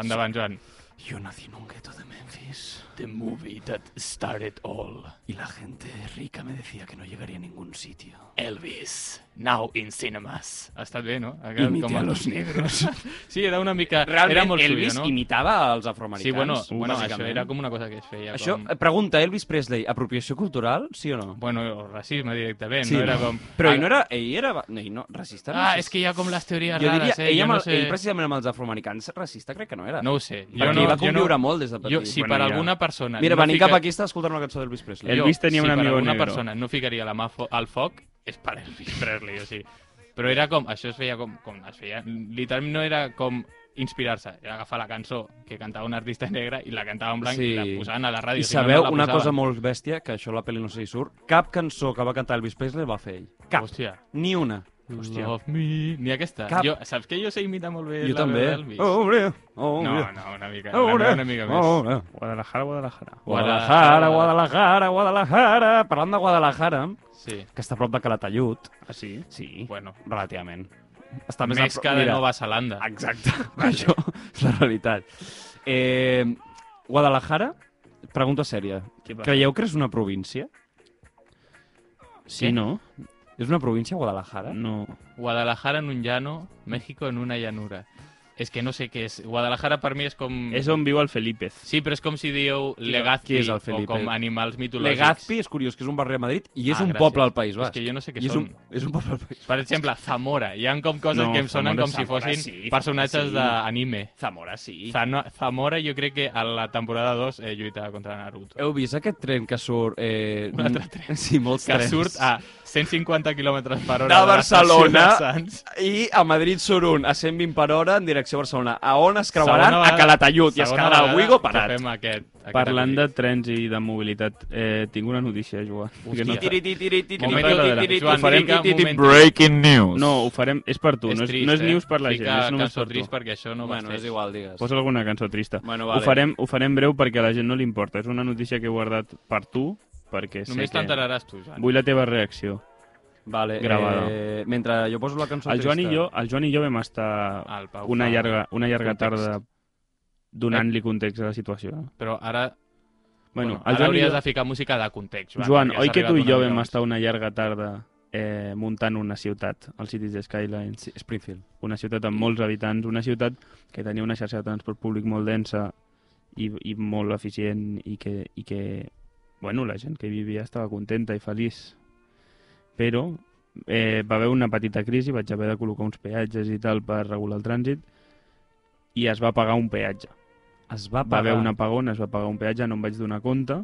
[SPEAKER 3] Endavant, Joan.
[SPEAKER 2] Yo nací en un gueto de Memphis
[SPEAKER 3] The movie that started all.
[SPEAKER 2] y la gente rica me decía que no llegaría a ningún sitio.
[SPEAKER 3] Elvis, now in cinemas. Ha estat bé, no? Ha quedat
[SPEAKER 2] Imité a
[SPEAKER 3] el-
[SPEAKER 2] los negros.
[SPEAKER 3] *laughs* Sí, era una mica... era molt
[SPEAKER 2] Elvis
[SPEAKER 3] suyo, no?
[SPEAKER 2] imitava els afroamericans.
[SPEAKER 3] Sí, bueno,
[SPEAKER 4] Uh,
[SPEAKER 3] bueno això
[SPEAKER 2] bàsicament.
[SPEAKER 3] era com una cosa que es feia.
[SPEAKER 2] Això,
[SPEAKER 3] Com...
[SPEAKER 2] eh, pregunta, Elvis Presley, apropiació cultural, sí o no?
[SPEAKER 3] Bueno, o racisme directament,
[SPEAKER 2] Sí,
[SPEAKER 3] no? Era com...
[SPEAKER 2] Però ell no era... Ell era... No, ell no, racista no
[SPEAKER 3] Ah,
[SPEAKER 2] sé
[SPEAKER 3] és que hi ha com les teories
[SPEAKER 2] Jo diria,
[SPEAKER 3] rares, eh?
[SPEAKER 2] ell,
[SPEAKER 3] jo
[SPEAKER 2] amb,
[SPEAKER 3] no
[SPEAKER 2] el-
[SPEAKER 3] sé...
[SPEAKER 2] ell precisament amb els afroamericans, racista crec que no era.
[SPEAKER 3] No ho sé. Jo
[SPEAKER 2] Perquè
[SPEAKER 3] no,
[SPEAKER 2] hi va
[SPEAKER 3] jo no...
[SPEAKER 2] conviure molt des de petit.
[SPEAKER 3] Jo, si
[SPEAKER 4] Bueno,
[SPEAKER 3] per
[SPEAKER 4] ja.
[SPEAKER 3] alguna persona...
[SPEAKER 2] Mira,
[SPEAKER 3] no
[SPEAKER 2] venint
[SPEAKER 3] fica-
[SPEAKER 2] cap aquí està escoltant una cançó d'Elvis Presley.
[SPEAKER 4] El- Elvis tenia
[SPEAKER 3] si
[SPEAKER 4] un amigo
[SPEAKER 3] per alguna
[SPEAKER 4] negro.
[SPEAKER 3] persona no ficaria la mà fo- al foc, és per Elvis Presley, o sigui. Però era com, això es feia com, com es feia, literalment no era com inspirar-se, era agafar la cançó que cantava un artista negre i la cantava en blanc
[SPEAKER 2] Sí.
[SPEAKER 3] i la posaven a la ràdio.
[SPEAKER 2] I
[SPEAKER 3] si no,
[SPEAKER 2] sabeu
[SPEAKER 3] no la
[SPEAKER 2] una
[SPEAKER 3] posaven.
[SPEAKER 2] cosa molt bèstia, que això a la pel·li no sé si surt, cap cançó que va cantar Elvis Presley va fer ell. Cap.
[SPEAKER 3] Hòstia,
[SPEAKER 2] Ni una.
[SPEAKER 3] hòstia. Love me. Ni aquesta.
[SPEAKER 2] Cap.
[SPEAKER 3] Jo, saps que jo sé imitar molt bé
[SPEAKER 2] Jo
[SPEAKER 3] la
[SPEAKER 2] també.
[SPEAKER 3] veu d'Elvis?
[SPEAKER 2] Oh, hombre. Oh,
[SPEAKER 3] no,
[SPEAKER 2] hombre.
[SPEAKER 3] no, una mica,
[SPEAKER 2] Oh,
[SPEAKER 3] la meva
[SPEAKER 2] hombre.
[SPEAKER 3] una mica més.
[SPEAKER 2] Oh, hombre.
[SPEAKER 4] Guadalajara, Guadalajara.
[SPEAKER 2] Guadalajara, Guadalajara, Guadalajara. Parlant de Guadalajara,
[SPEAKER 3] Sí,
[SPEAKER 2] que està a prop de Calatayud.
[SPEAKER 4] Ah, sí?
[SPEAKER 2] Sí,
[SPEAKER 3] bueno.
[SPEAKER 2] relativament. Està
[SPEAKER 3] Més,
[SPEAKER 2] més, a prop-
[SPEAKER 3] que de
[SPEAKER 2] Mira,
[SPEAKER 3] Nova Zelanda. *laughs*
[SPEAKER 2] Exacte, *laughs* això és la realitat. Eh, Guadalajara, pregunta sèria.
[SPEAKER 4] Què passa?
[SPEAKER 2] Creieu que és una província?
[SPEAKER 3] ¿Eh?
[SPEAKER 4] Sí, no?
[SPEAKER 2] És una província, Guadalajara?
[SPEAKER 3] Mm.
[SPEAKER 4] No.
[SPEAKER 3] Guadalajara en un llano, México en una llanura. És que no sé què és. Guadalajara per mi és com...
[SPEAKER 4] És on viu el Felípez.
[SPEAKER 3] Sí, però és com si dieu Legazpi
[SPEAKER 2] Qui és el
[SPEAKER 3] o
[SPEAKER 2] Felipe?
[SPEAKER 3] com animals mitològics.
[SPEAKER 2] Legazpi és curiós, que és un barri a Madrid i és
[SPEAKER 3] Ah,
[SPEAKER 2] un
[SPEAKER 3] gràcies.
[SPEAKER 2] poble al País
[SPEAKER 3] És
[SPEAKER 2] Basc.
[SPEAKER 3] que jo no sé què
[SPEAKER 2] I és
[SPEAKER 3] són.
[SPEAKER 2] un, és un poble al País
[SPEAKER 3] Per exemple, Zamora. Hi ha com coses
[SPEAKER 4] No,
[SPEAKER 3] que em sonen
[SPEAKER 4] Zamora-
[SPEAKER 3] com si
[SPEAKER 2] Zamora
[SPEAKER 3] fossin
[SPEAKER 2] sí,
[SPEAKER 3] personatges
[SPEAKER 2] sí.
[SPEAKER 3] d'anime.
[SPEAKER 2] Zamora, sí.
[SPEAKER 3] Zano- Zamora jo crec que a la temporada 2 eh, lluita contra Naruto.
[SPEAKER 2] Heu vist aquest tren que surt... Eh...
[SPEAKER 3] Un altre
[SPEAKER 2] *laughs*
[SPEAKER 3] tren.
[SPEAKER 2] Sí, molts
[SPEAKER 3] Que
[SPEAKER 2] trens.
[SPEAKER 3] surt a 150 km per hora
[SPEAKER 2] De Barcelona.
[SPEAKER 3] l'estació de Sants.
[SPEAKER 2] I a Madrid surt un a 120 per hora en direcció a Barcelona. A on es creuaran?
[SPEAKER 3] Segona
[SPEAKER 2] A
[SPEAKER 3] vegada-
[SPEAKER 2] Calatayud. I es
[SPEAKER 3] segona
[SPEAKER 2] quedarà a
[SPEAKER 3] vegada
[SPEAKER 2] Uigo
[SPEAKER 3] que
[SPEAKER 2] parat.
[SPEAKER 3] Fem aquest, aquest
[SPEAKER 4] Parlant de
[SPEAKER 3] episodi.
[SPEAKER 4] trens i de mobilitat, eh, tinc una notícia, Joan. que no,
[SPEAKER 3] Hòstia.
[SPEAKER 4] Moment,
[SPEAKER 2] Tiri-tiri-tiri-tiri-tiri-tiri-tiri-tiri.
[SPEAKER 3] Joan,
[SPEAKER 2] Ho farem
[SPEAKER 3] fica
[SPEAKER 2] tiri-tiri.
[SPEAKER 3] moment.
[SPEAKER 5] Breaking news.
[SPEAKER 4] no, ho farem... És per tu, no és,
[SPEAKER 3] trist,
[SPEAKER 4] no és
[SPEAKER 3] eh?
[SPEAKER 4] news per la
[SPEAKER 3] Fica
[SPEAKER 4] gent, és només
[SPEAKER 3] cançó
[SPEAKER 4] per tu.
[SPEAKER 3] trist perquè això no
[SPEAKER 2] Bueno, és igual, digues.
[SPEAKER 4] Posa alguna cançó trista.
[SPEAKER 2] Bueno,
[SPEAKER 4] ho,
[SPEAKER 2] vale.
[SPEAKER 4] farem, ho farem breu perquè a la gent no li importa. És una notícia que he guardat per tu, perquè
[SPEAKER 3] Només
[SPEAKER 4] sé que...
[SPEAKER 3] t'enteraràs tu, Joan.
[SPEAKER 4] Vull la teva reacció.
[SPEAKER 2] Vale,
[SPEAKER 4] Gravada.
[SPEAKER 2] eh, mentre jo poso la cançó
[SPEAKER 4] El Joan, i
[SPEAKER 2] trista.
[SPEAKER 4] jo, el Joan i jo vam estar
[SPEAKER 3] Al Pau
[SPEAKER 4] una
[SPEAKER 3] Ah, fa-
[SPEAKER 4] llarga, una llarga
[SPEAKER 3] context.
[SPEAKER 4] tarda donant-li context a la situació.
[SPEAKER 3] Però ara
[SPEAKER 4] Bueno, el
[SPEAKER 3] ara
[SPEAKER 4] Joan, i
[SPEAKER 3] hauries
[SPEAKER 4] jo,
[SPEAKER 3] de ficar música de context. Joan,
[SPEAKER 4] Joan
[SPEAKER 3] perquè
[SPEAKER 4] oi
[SPEAKER 3] has
[SPEAKER 4] que tu i
[SPEAKER 3] arribat
[SPEAKER 4] jo
[SPEAKER 3] una
[SPEAKER 4] vam
[SPEAKER 3] mica
[SPEAKER 4] estar una llarga tarda eh, muntant una ciutat, al Cities Skyline,
[SPEAKER 2] Sí, Springfield.
[SPEAKER 4] una ciutat amb molts habitants, una ciutat que tenia una xarxa de transport públic molt densa i, i molt eficient i que, i que bueno, la gent que hi vivia estava contenta i feliç. Però eh, va haver una petita crisi, vaig haver de col·locar uns peatges i tal per regular el trànsit i es va pagar un peatge.
[SPEAKER 2] Es va
[SPEAKER 4] Va
[SPEAKER 2] pagar.
[SPEAKER 4] haver un apagón, es va pagar un peatge, no em vaig donar compte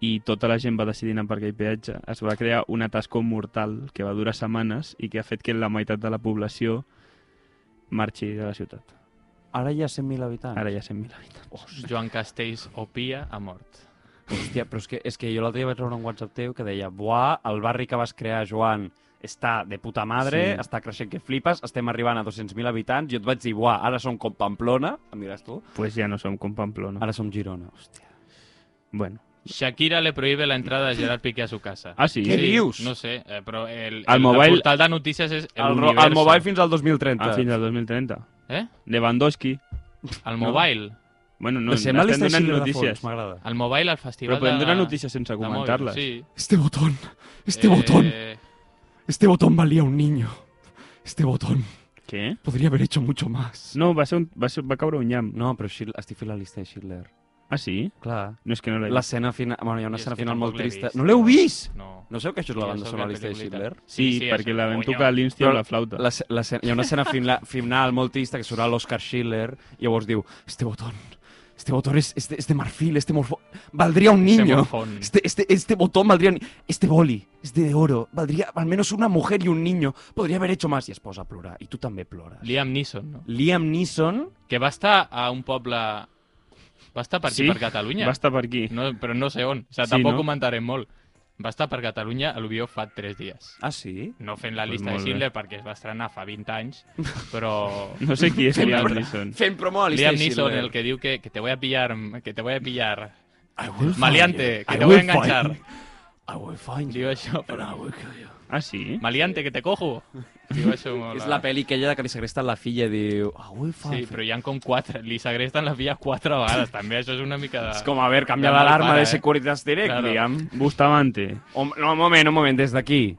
[SPEAKER 4] i tota la gent va decidir anar per aquell peatge. Es va crear un atascó mortal que va durar setmanes i que ha fet que la meitat de la població marxi de la ciutat.
[SPEAKER 2] Ara hi ha 100.000 habitants.
[SPEAKER 4] Ara ja 100.000 habitants.
[SPEAKER 3] Joan Castells o Pia ha mort.
[SPEAKER 2] Hòstia, però és que, és que jo l'altre dia vaig rebre un WhatsApp teu que deia Buah, el barri que vas crear, Joan, està de puta madre,
[SPEAKER 4] Sí.
[SPEAKER 2] sí. està creixent que flipes, estem arribant a 200.000 habitants. Jo et vaig dir, buah, ara som com Pamplona, em diràs tu.
[SPEAKER 4] pues ja no som com Pamplona.
[SPEAKER 2] Ara som Girona, hòstia.
[SPEAKER 4] Bueno.
[SPEAKER 3] Shakira le prohíbe la entrada de Gerard Piqué a su casa.
[SPEAKER 4] Ah, sí?
[SPEAKER 2] Què dius?
[SPEAKER 3] No sé, eh, però el,
[SPEAKER 4] Al
[SPEAKER 3] el,
[SPEAKER 4] mobile-
[SPEAKER 3] el portal de notícies és el,
[SPEAKER 2] El, ro- el mobile fins al 2030.
[SPEAKER 4] Ah, fins al 2030.
[SPEAKER 3] Eh?
[SPEAKER 4] Lewandowski.
[SPEAKER 3] El mobile.
[SPEAKER 4] Bueno, no,
[SPEAKER 2] No, Sembla
[SPEAKER 4] estem
[SPEAKER 2] l'Ista
[SPEAKER 4] donant
[SPEAKER 2] Schindler de
[SPEAKER 4] notícies.
[SPEAKER 2] fons, m'agrada.
[SPEAKER 3] El mobile al
[SPEAKER 4] Però
[SPEAKER 3] festival
[SPEAKER 4] podem
[SPEAKER 3] de...
[SPEAKER 4] donar notícies sense
[SPEAKER 3] de mòbil,
[SPEAKER 4] comentar-les.
[SPEAKER 3] Sí.
[SPEAKER 2] Este botón,
[SPEAKER 3] Eh,
[SPEAKER 2] este botón valía un niño. Este botón
[SPEAKER 4] Què?
[SPEAKER 2] podría haber hecho mucho más.
[SPEAKER 4] No, va, ser un, va, ser, va caure un nyam.
[SPEAKER 2] No, però Schindler, estic fent la llista de Schindler.
[SPEAKER 4] Ah, sí?
[SPEAKER 2] Clar.
[SPEAKER 4] No, és que no l'he vist.
[SPEAKER 2] L'escena final... Bueno, hi ha
[SPEAKER 3] jo
[SPEAKER 2] una
[SPEAKER 3] és
[SPEAKER 2] escena
[SPEAKER 3] que
[SPEAKER 2] final
[SPEAKER 3] tampoc
[SPEAKER 2] molt
[SPEAKER 3] l'he
[SPEAKER 2] trista.
[SPEAKER 3] vist,
[SPEAKER 2] No l'heu
[SPEAKER 3] tio.
[SPEAKER 2] vist?
[SPEAKER 3] No.
[SPEAKER 2] No sabeu que això és la
[SPEAKER 3] Jo
[SPEAKER 2] banda
[SPEAKER 3] sóc
[SPEAKER 2] sonora de
[SPEAKER 3] la
[SPEAKER 2] llista de
[SPEAKER 3] peliculita.
[SPEAKER 2] Schindler?
[SPEAKER 4] Sí,
[SPEAKER 3] Sí, sí,
[SPEAKER 4] perquè
[SPEAKER 3] és
[SPEAKER 4] la vam
[SPEAKER 3] un
[SPEAKER 4] tocar a
[SPEAKER 3] punyal.
[SPEAKER 4] l'Instia amb la flauta.
[SPEAKER 2] La, la, escena- hi ha una escena final, final molt trista que surt l'Oscar Schiller i llavors diu, este botón, este botón es, es, de, es de marfil, este morfo... Valdría un
[SPEAKER 3] Este
[SPEAKER 2] niño.
[SPEAKER 3] morfón.
[SPEAKER 2] Este, este, este botón valdría... un- Este boli es de oro. Valdría al menos una mujer y un niño. Podría haber hecho más. I es posa a plorar. I tu també plores.
[SPEAKER 3] Liam Neeson, no?
[SPEAKER 2] Liam Neeson...
[SPEAKER 3] Que va estar a un poble... Va estar per aquí,
[SPEAKER 4] Sí?
[SPEAKER 3] per Catalunya.
[SPEAKER 4] Va estar per aquí.
[SPEAKER 3] No, però no sé on. O sigui,
[SPEAKER 4] Sí,
[SPEAKER 3] tampoc
[SPEAKER 4] no?
[SPEAKER 3] comentarem molt. Va estar per Catalunya, a l'Ubió fa 3 dies.
[SPEAKER 2] Ah, sí?
[SPEAKER 3] No fent la
[SPEAKER 4] Pues
[SPEAKER 3] llista
[SPEAKER 4] molt
[SPEAKER 3] de
[SPEAKER 4] bé.
[SPEAKER 3] Schindler perquè es va estrenar fa 20 anys, però...
[SPEAKER 4] No sé qui és Liam
[SPEAKER 3] Fem-
[SPEAKER 4] Neeson.
[SPEAKER 2] Fent promo a la llista
[SPEAKER 3] Liam
[SPEAKER 2] de
[SPEAKER 3] Neeson,
[SPEAKER 2] Schindler.
[SPEAKER 3] el que diu que, que te voy a pillar, que te voy a pillar.
[SPEAKER 2] I will find
[SPEAKER 3] Maleante,
[SPEAKER 2] you.
[SPEAKER 3] que
[SPEAKER 2] I
[SPEAKER 3] te voy a
[SPEAKER 2] will find
[SPEAKER 3] enganchar.
[SPEAKER 2] you. I will find
[SPEAKER 3] Diu
[SPEAKER 2] you.
[SPEAKER 3] això,
[SPEAKER 2] and
[SPEAKER 3] però...
[SPEAKER 2] I will kill you.
[SPEAKER 4] Ah, sí?
[SPEAKER 3] Maliante, que te cojo!
[SPEAKER 2] *laughs*
[SPEAKER 3] Diu això molt...
[SPEAKER 2] És la pel·li aquella que li segresten la filla i diu... I will find
[SPEAKER 3] Sí,
[SPEAKER 2] you.
[SPEAKER 3] però hi han com 4. Li segresten la filla 4 vegades, també. Això és una mica de...
[SPEAKER 2] És com, a ver, canvia
[SPEAKER 3] de mal
[SPEAKER 2] l'alarma
[SPEAKER 3] pare,
[SPEAKER 2] de
[SPEAKER 3] eh?
[SPEAKER 2] Securitas Direct,
[SPEAKER 3] Claro.
[SPEAKER 2] Liam.
[SPEAKER 4] Bustamante.
[SPEAKER 2] O, no, un moment, un moment, des d'aquí.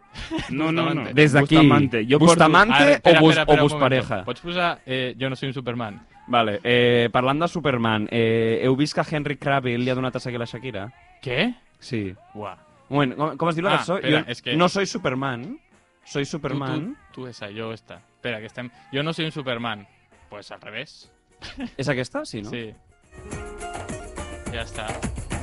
[SPEAKER 4] No, no, no.
[SPEAKER 3] Bustamante.
[SPEAKER 2] Des d'aquí.
[SPEAKER 4] Bustamante. Jo
[SPEAKER 2] Bustamante
[SPEAKER 3] Ara, espera,
[SPEAKER 2] o, bus,
[SPEAKER 3] espera,
[SPEAKER 2] o
[SPEAKER 3] espera, un
[SPEAKER 2] bus
[SPEAKER 3] momento.
[SPEAKER 2] pareja.
[SPEAKER 3] Pots posar eh, Jo no soy un Superman?
[SPEAKER 2] Vale, eh, parlant de Superman, eh, heu vist que Henry Cavill li ha donat a seguir la Shakira?
[SPEAKER 3] Què?
[SPEAKER 2] Sí.
[SPEAKER 3] Uah.
[SPEAKER 2] Un moment, com, com es diu la
[SPEAKER 3] Ah,
[SPEAKER 2] cançó?
[SPEAKER 3] espera,
[SPEAKER 2] jo
[SPEAKER 3] és que-
[SPEAKER 2] no soy Superman, soy
[SPEAKER 3] Tu,
[SPEAKER 2] Superman.
[SPEAKER 3] tu, tu esa, jo esta. Espera, que estem... Jo no soy un Superman. Pues al revés.
[SPEAKER 2] És aquesta? Sí, no?
[SPEAKER 3] Sí. Ja està.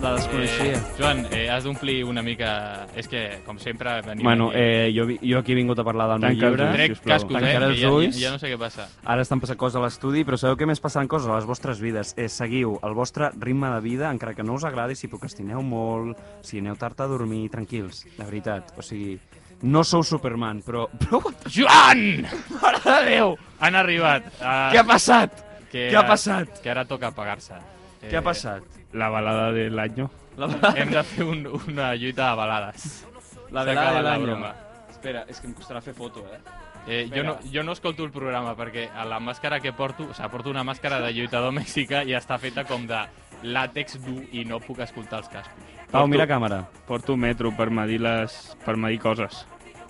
[SPEAKER 2] La desconeixia.
[SPEAKER 3] Eh, Joan, eh, has d'omplir una mica... És que, com sempre, venim
[SPEAKER 2] Bueno,
[SPEAKER 3] aquí.
[SPEAKER 2] eh, jo, vi- jo aquí he vingut a parlar del meu
[SPEAKER 4] Tanca els
[SPEAKER 2] llibre.
[SPEAKER 4] ulls.
[SPEAKER 3] Trec
[SPEAKER 4] sisplau,
[SPEAKER 3] cascos, eh?
[SPEAKER 2] tancaré
[SPEAKER 3] que
[SPEAKER 2] els
[SPEAKER 3] Ja, ja,
[SPEAKER 2] ulls.
[SPEAKER 3] ja no sé què passa.
[SPEAKER 2] Ara estan passant coses a l'estudi, però sabeu que més passaran coses a les vostres vides. Eh, seguiu el vostre ritme de vida, encara que no us agradi, si procrastineu molt, si aneu tard a dormir, tranquils, la veritat. O sigui, no sou Superman, però... *laughs* però
[SPEAKER 3] Joan!
[SPEAKER 2] mare de Déu!
[SPEAKER 3] Han arribat. A...
[SPEAKER 2] Què ha passat?
[SPEAKER 3] que,
[SPEAKER 2] què ha passat?
[SPEAKER 3] Que ara toca pagar-se. Eh,
[SPEAKER 2] Què ha passat?
[SPEAKER 4] La balada de l'any.
[SPEAKER 2] La, la,
[SPEAKER 3] Hem de fer un, una lluita de balades.
[SPEAKER 2] la
[SPEAKER 3] s'ha
[SPEAKER 2] velada de
[SPEAKER 3] acabat la
[SPEAKER 2] l'any.
[SPEAKER 3] broma.
[SPEAKER 2] Espera, és que em costarà fer foto, eh?
[SPEAKER 3] Eh, jo, no, jo no escolto el programa perquè a la màscara que porto, o sigui, porto una màscara de lluitador *laughs* mexicà i està feta com de làtex dur i no puc escoltar els cascos.
[SPEAKER 2] Pau,
[SPEAKER 4] Porto-
[SPEAKER 2] mira càmera.
[SPEAKER 4] Porto metro per medir, les, per medir coses.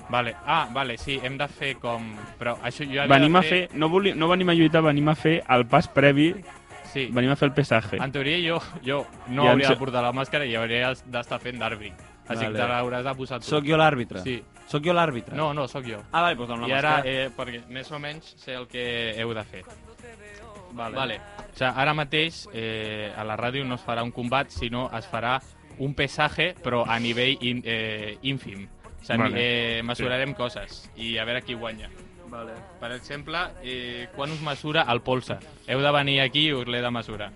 [SPEAKER 3] Vale. Ah, vale, sí, hem de fer com... Però això jo havia
[SPEAKER 4] Venim
[SPEAKER 3] de
[SPEAKER 4] a fer... No, voli, no venim a lluitar, venim a fer el pas previ,
[SPEAKER 3] Sí.
[SPEAKER 4] venim a fer el pesaje.
[SPEAKER 3] En teoria jo, jo no
[SPEAKER 4] I en
[SPEAKER 3] hauria de
[SPEAKER 4] se-
[SPEAKER 3] portar la màscara i hauria d'estar fent d'àrbit. Així
[SPEAKER 2] Vale.
[SPEAKER 3] que te l'hauràs de posar tu.
[SPEAKER 2] Sóc jo l'àrbitre?
[SPEAKER 3] Sí.
[SPEAKER 2] Sóc jo l'àrbitre?
[SPEAKER 3] No, no, sóc jo.
[SPEAKER 2] Ah, vale, doncs dona
[SPEAKER 3] I
[SPEAKER 2] una
[SPEAKER 3] ara,
[SPEAKER 2] màscara.
[SPEAKER 3] eh, perquè més o menys sé el que heu de fer. Vale. vale. O sigui, ara mateix eh, a la ràdio no es farà un combat, sinó es farà un pesaje, però a nivell in, eh, ínfim. O sigui,
[SPEAKER 4] Vale.
[SPEAKER 3] vale. eh, mesurarem sí. coses i a veure qui guanya. Vale. Per exemple, eh, quan us mesura el polsa? Heu de venir aquí i us l'he de mesurar.